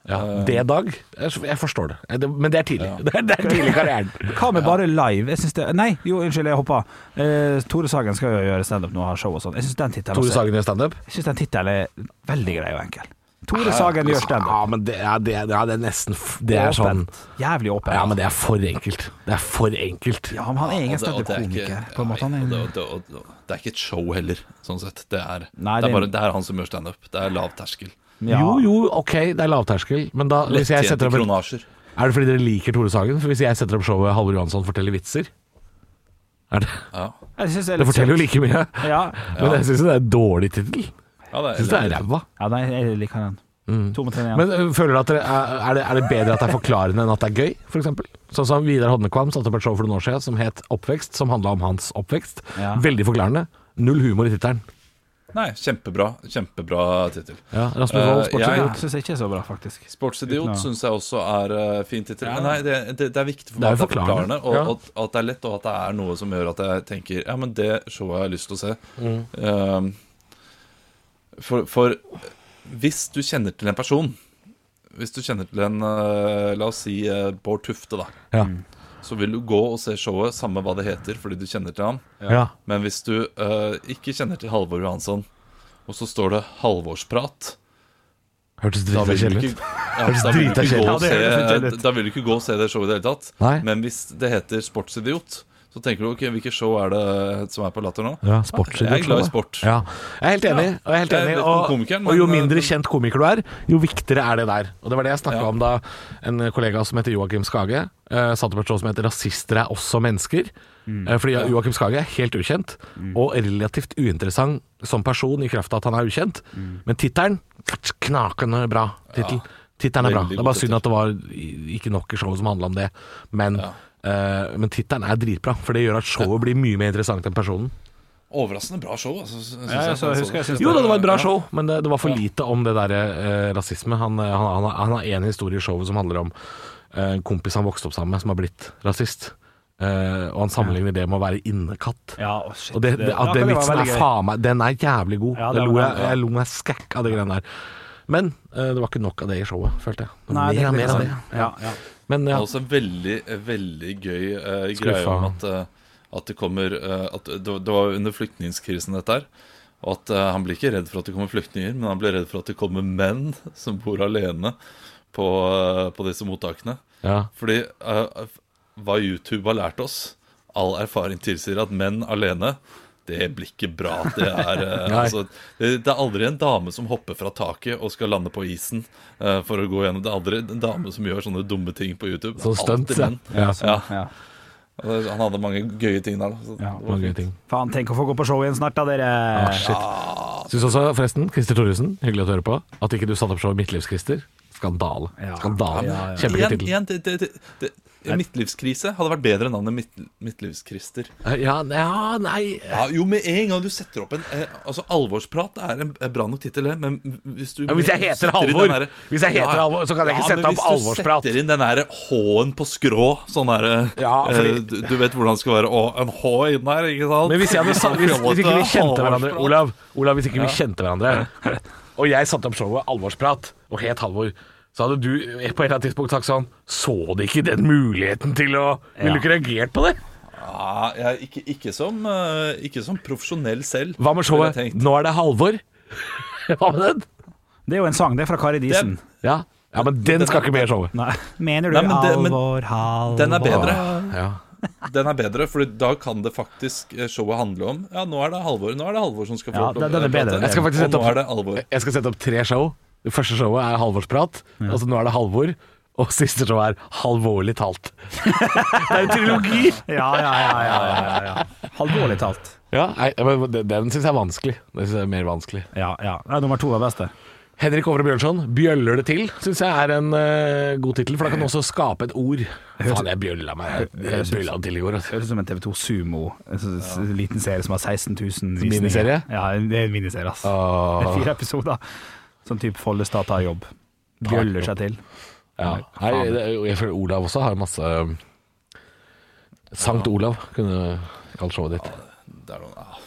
ja. Eh. Det, Dag. Jeg jeg forstår det. Eh, det. Men det er tidlig. Det, er, det er tidlig i karrieren. Hva med bare live? Jeg synes det Nei, jo, unnskyld, jeg hoppa. Eh, Tore Sagen skal jo gjøre standup nå og ha show og sånn. Jeg syns den tittelen Tore også- Sagen gjør standup. Jeg synes den tittelen er veldig grei og enkel. Tore Sagen gjør standup. Ja, men det er, det, er, ja, det er nesten f- Det er sånn Åpent. Jævlig åpen. Ja, men det er for enkelt. Det er for enkelt. Ja, men han er ingen Og det- og det er ikke- standup-komiker, på en ja, måte. Han og det, er og det, og det, det er ikke et show heller, sånn sett. Det er, Nei, det det- er, bare, det er han som gjør standup. Det er lav terskel. ja. Jo, jo, ok, det er lavterskel, men da hvis jeg Lettjente setter opp kronasjer. Er det fordi dere liker Tore Sagen? For hvis jeg setter opp showet Halvor Johansson forteller vitser Er det? Jeg synes Det er litt forteller jo søtt. like mye. Ja. Men jeg syns det er en dårlig tittel. Ja, det er Jeg syns det er ræva. Ja, nei, jeg liker den. To mot en igjen. Men øh, føler du at dere, er, er det, er det bedre at det er forklarende enn at det er gøy, f.eks.? Sånn som Vidar Hodnekvam satte opp et show for noen år siden som het Oppvekst, som handla om hans oppvekst. Ja. Veldig forklarende. Null humor i tittelen. Nei, kjempebra. Kjempebra tittel. Ja, Rasmus Wold, Eh, sportsidiot. jeg- Jeg syns ikke det er så bra, faktisk. Sportsidiot Uten å- syns jeg også er eh, fin tittel. Ja. Nei, det, det, det er viktig for Det er meg jo at det er forklarende, forklarende, og ja. at, at det er lett, og at det er noe som gjør at jeg tenker Ja, men det showet har jeg lyst til å se. Mm. Ehm, for, for hvis du kjenner til en person Hvis du kjenner til en eh, La oss si eh, Bård Tufte, da. Ja. Mm. Så vil du gå og se showet, samme hva det heter, fordi du kjenner til ham. Ja. Men hvis du eh, ikke kjenner til Halvor Johansson, og så står det 'Halvorsprat' Hørtes da drita vil du kjedelig ikke- ut. ja, Hørtes da vil du drita ikke gå kjedelig og ut. Ja, det høres se- ut. Da vil du ikke gå og se det showet i det hele tatt. Nei. Men hvis det heter Sportsidiot, så tenker du ok, hvilket show er det som er på Latter nå? Ja, sportsidiot. Jeg er glad i sport. Ja. Jeg er helt enig. Og, jeg er helt Jeg enig. vet om og, komikeren, og jo men, mindre eh, kjent komiker du er, jo viktigere er det der. Og Det var det jeg snakka om da en kollega som heter Joakim Skage, eh, satte opp et show som heter 'Rasister er også mennesker'. Mm. Eh, fordi Joakim Skage er helt ukjent, og relativt uinteressant som person i kraft av at han er ukjent. Mm. Men tittelen knakende bra. Tittel. Tittelen er bra. Veldig Det god er bare synd tittel. at det var i- ikke nok i showet som handla om det. Men, eh, men tittelen er dritbra, for det gjør at showet blir mye mer interessant enn personen. Overraskende bra show, altså. synes Ja, jeg så- jeg husker jeg synes Jo da, det var et bra Ja. show, men det, det var for lite om det der eh, rasisme. Han, eh, han, han, han har én historie i showet som handler om eh, en kompis han vokste opp sammen med, som har blitt rasist. Eh, og han sammenligner det med å være innekatt. Ja, å, shit, og det, det- det, at akkurat det den var vitsen veldig er sånn gøy. faen meg Den er jævlig god. Ja, jeg, det var lo, den, jeg, jeg lo meg skækk av de greiene der. Men eh, det var ikke nok av det i showet, følte jeg. Det var Nei, det mer er av mer av det. liksom- ja, ja. Men Det ja, er også en veldig, en veldig gøy eh, greie Skuffa. om at, eh, at det kommer eh, at det, det var under flyktningkrisen dette her. Og at eh, han blir ikke redd for at det kommer flyktninger, men han blir redd for at det kommer menn som bor alene på, eh, på disse mottakene. Ja. Fordi eh, hva YouTube har lært oss, all erfaring tilsier at menn alene det blir ikke bra. Det er, eh, Nei. altså, det, det er aldri en dame som hopper fra taket og skal lande på isen eh, for å gå gjennom. Det er aldri en dame som gjør sånne dumme ting på YouTube. Sånn stunts, Alltid menn. ja. Ja. Og det- Han hadde mange gøye ting der. da, Så det var mange fint. ting. Faen, tenk å få gå på show igjen snart, da, dere. Ah, shit. Syns også, forresten, Christer Thoresen, hyggelig at du hører på, at ikke du satte opp showet Midtlivs-Christer. Skandale. Skandale. Kjempegøy Igjen, tittel. igjen, det, det, det, det, Midtlivskrise hadde vært bedre navn enn midt, Midtlivskrister. Ja, ja, nei Ja, jo, med en gang du setter opp en eh, Altså, Alvorsprat er en en bra nok tittel, det, men hvis du Ja, hvis jeg heter setter inn Halvor, den derre- hvis jeg heter Halvor, så kan jeg ikke sette men opp Alvorsprat. Hvis du setter inn den derre H-en på skrå, sånn derre Ja, fordi- eh, du, du vet hvordan det skal være å, en H inn der, ikke sant? Men hvis, jeg hadde, sa- hvis, hvis ikke vi kjente hverandre Olav, Olav hvis ikke vi kjente hverandre Og jeg satte opp showet Alvorsprat og het Halvor så hadde du på et eller annet tidspunkt sagt sånn Så du ikke den muligheten til å Ville du ikke reagert på det? Ja, jeg, ikke, ikke, som, eh, ikke som profesjonell selv. Hva med showet ville jeg tenkt. Nå er det Halvor? Hva med den? Det er jo en sang, det er fra Kari Disen. Ja, ja men den skal ikke med i showet Nei. Mener du Nei, men det- men alvor, halvor Den er bedre. ja. Den er bedre, for da kan det faktisk eh, showet handle om Ja, nå er det Halvor nå er det Halvor som skal få Ja, den- den er bedre. prate. Jeg skal faktisk Og sette nå er det opp, Halvor. jeg skal sette opp tre show. Det første showet er Halvorsprat. Altså nå er det Halvor. Og siste show er Halvorlig talt. det er en trilogi! Ja, ja, ja, ja, ja, ja. Alvorlig talt. Ja, nei, men den- Den syns jeg er vanskelig. Den synes jeg er mer vanskelig Ja, ja. Nei, nummer to var best, det. Henrik Ovre Bjørnson, 'Bjøller det til' syns jeg er en eh, god tittel, for da kan du også skape et ord. Faen, jeg bjølla meg jeg bjølla den til i går. Altså. Høres ut som en TV2 Sumo. En sånn s- liten serie som har 16 000 visninger. Miniserie? Ja, det er en miniserie, ass. Det Åh. er fire episoder. Sånn type Follestad tar jobb. Bjøller seg til. Ja. Nei, det- jeg føler Olav også har masse eh, Sankt Olav kunne kalt showet ditt. Det er noen, ah.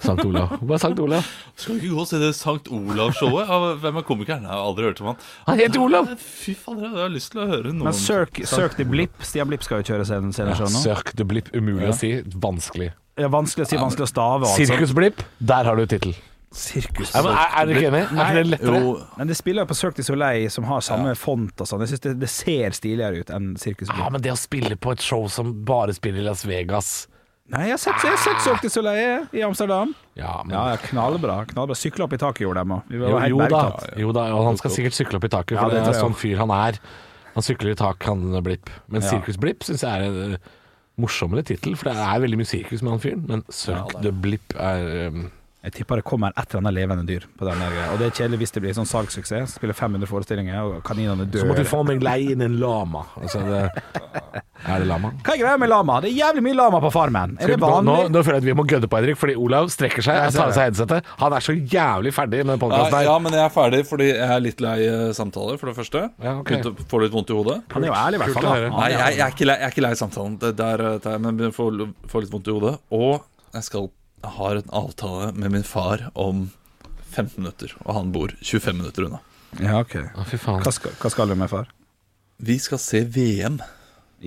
Sankt Olav. Hva er Sankt Olav? Skal vi ikke gå og se det Sankt Olav-showet? Ja, Hvem er komikeren? Jeg har aldri hørt om han. Han heter Olav. Nei, Fy fader, jeg har lyst til å høre noen Men søk, søk til Blipp. Stian Blipp skal jo kjøre scenen senere Ja, show nå. Sørk det blipp, umulig å si. Vanskelig. Ja, vanskelig å si, vanskelig å stave. Altså. Sirkusblipp, der har du tittel. Sirkus. Er, er dere ikke enig? Er ikke det lettere? Jo, Men det spiller jo på Cirque du Soleil, som har samme font og sånn. Jeg syns det, det ser stiligere ut enn Sirkus Ja, Blipp. men det å spille på et show som bare spiller i Las Vegas Nei, jeg har sett, jeg har sett Cirque du Soleil i Amsterdam. Ja, men Ja, ja, knallbra. knallbra. Sykle opp i taket gjorde de òg. Vi jo, var helt jo, da, bergtatt. jo da, og han skal sikkert sykle opp i taket, Ja, for det det er tror jeg sånn fyr han er. Han sykler i tak, han Blipp. Men Ja. Sirkus Blipp syns jeg er eh, morsommere tittel, for det er veldig mye sirkus med han fyren, men Sunk the Blip er um, Jeg tipper det kommer et eller annet levende dyr på den der greia. Og det er kjedelig hvis det blir sånn salgssuksess. Spiller 500 forestillinger, og kaninene dør. Så måtte vi få meg leie inn en lama. Altså, det, er det lama? Hva er greia med lama? Det er jævlig mye lama på Farmen. Er det Nå, nå, vanlig? nå føler jeg at vi må gødde på, Henrik, fordi Olav strekker seg og tar av seg headsetet. Han er så jævlig ferdig med den podkasten Nei, her. ja, men jeg er ferdig fordi jeg er litt lei eh, samtaler, for det første. ok. Begynte å få litt vondt i hodet. Han er jo ærlig, i hvert Kult fall. å da. høre. Han Nei, er jeg, jeg, er ikke lei, jeg er ikke lei samtalen, det der, eh, tar jeg, men jeg får, får litt vondt i hodet. Og jeg skal jeg har en avtale med min far om 15 minutter, og han bor 25 minutter unna. Ja, ok. Å, fy faen. Hva skal, hva skal du med, far? Vi skal se VM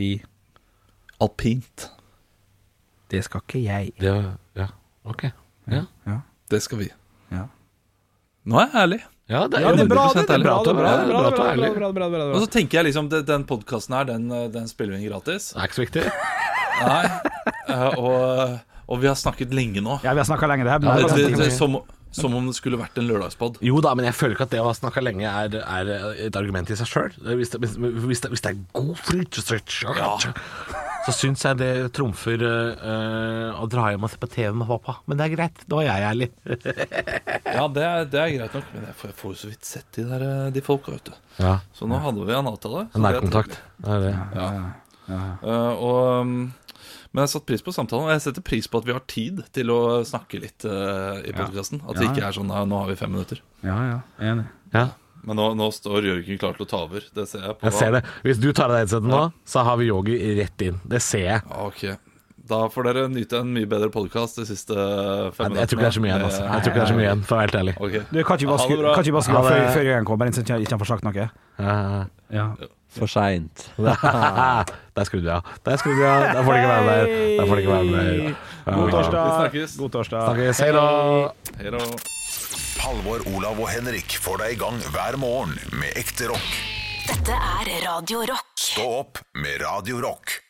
I alpint. Det skal ikke jeg. Det, ja, ok. Ja. Ja. Det skal vi. Ja. Nå er jeg ærlig. Ja, det er Ja, det er bra, det. 100% det er bra, ærlig. det er bra, det er bra, Ja, det det er er bra, ærlig. bra, bra, bra, Og bra. så tenker jeg liksom, det- den podkasten her, den, eh, den spiller vi inn gratis. Det er ikke så viktig. Nei. Eh, Og, og vi har snakket lenge nå. Ja, vi har snakka lenge, det her. men Det, det er det, bra. det, som, som om det skulle vært en lørdagspod. Jo da, men jeg føler ikke at det å ha snakka lenge er, er et argument i seg sjøl. Hvis, det- hvis, hvis, det- hvis det er god flytestretch, så syns jeg det trumfer eh, å dra hjem og se på TV med pappa. Men det er greit, nå er jeg ærlig. Ja, det er, det er greit nok, men jeg får jeg får jo så vidt sett de der eh, de folka, vet du. Ja, Så nå hadde vi en avtale. så det er Nærkontakt. Det er det. trivelig. Eh, og, um, men jeg satte pris på samtalen, og jeg setter pris på at vi har tid til å snakke litt eh, i podkasten. At det Ja. ikke er sånn at nå har vi fem minutter. Ja, ja. Enig. Ja, Men nå, nå står Jørgen klar til å ta over. Det ser jeg på. jeg ser det. Hvis du tar av deg headsetet nå, så har vi yogi rett inn. Det ser jeg. Ok. Da får dere nyte en mye bedre podkast de siste Jeg fem minuttene. tror ikke det er så mye igjen, altså. Jeg tror ikke det er så mye igjen, for å være helt ærlig. Ok. Du, kan ikke vi bare Ha det skru- bra. kan ikke vi bare skru av Ha før, det. før Jørgen kommer inn, så ikke ikke han får sagt noe? Ja. Ja. For seint. Der skrudde jeg av. Der skrudde jeg av. Der får det ikke være mer. Der får det ikke være mer. God torsdag. Vi snakkes. God torsdag. Snakkes. Hei da. Hei da. Halvor, Olav og Henrik får deg i gang hver morgen med ekte rock. Dette er Radio Rock. Stå opp med Radio Rock.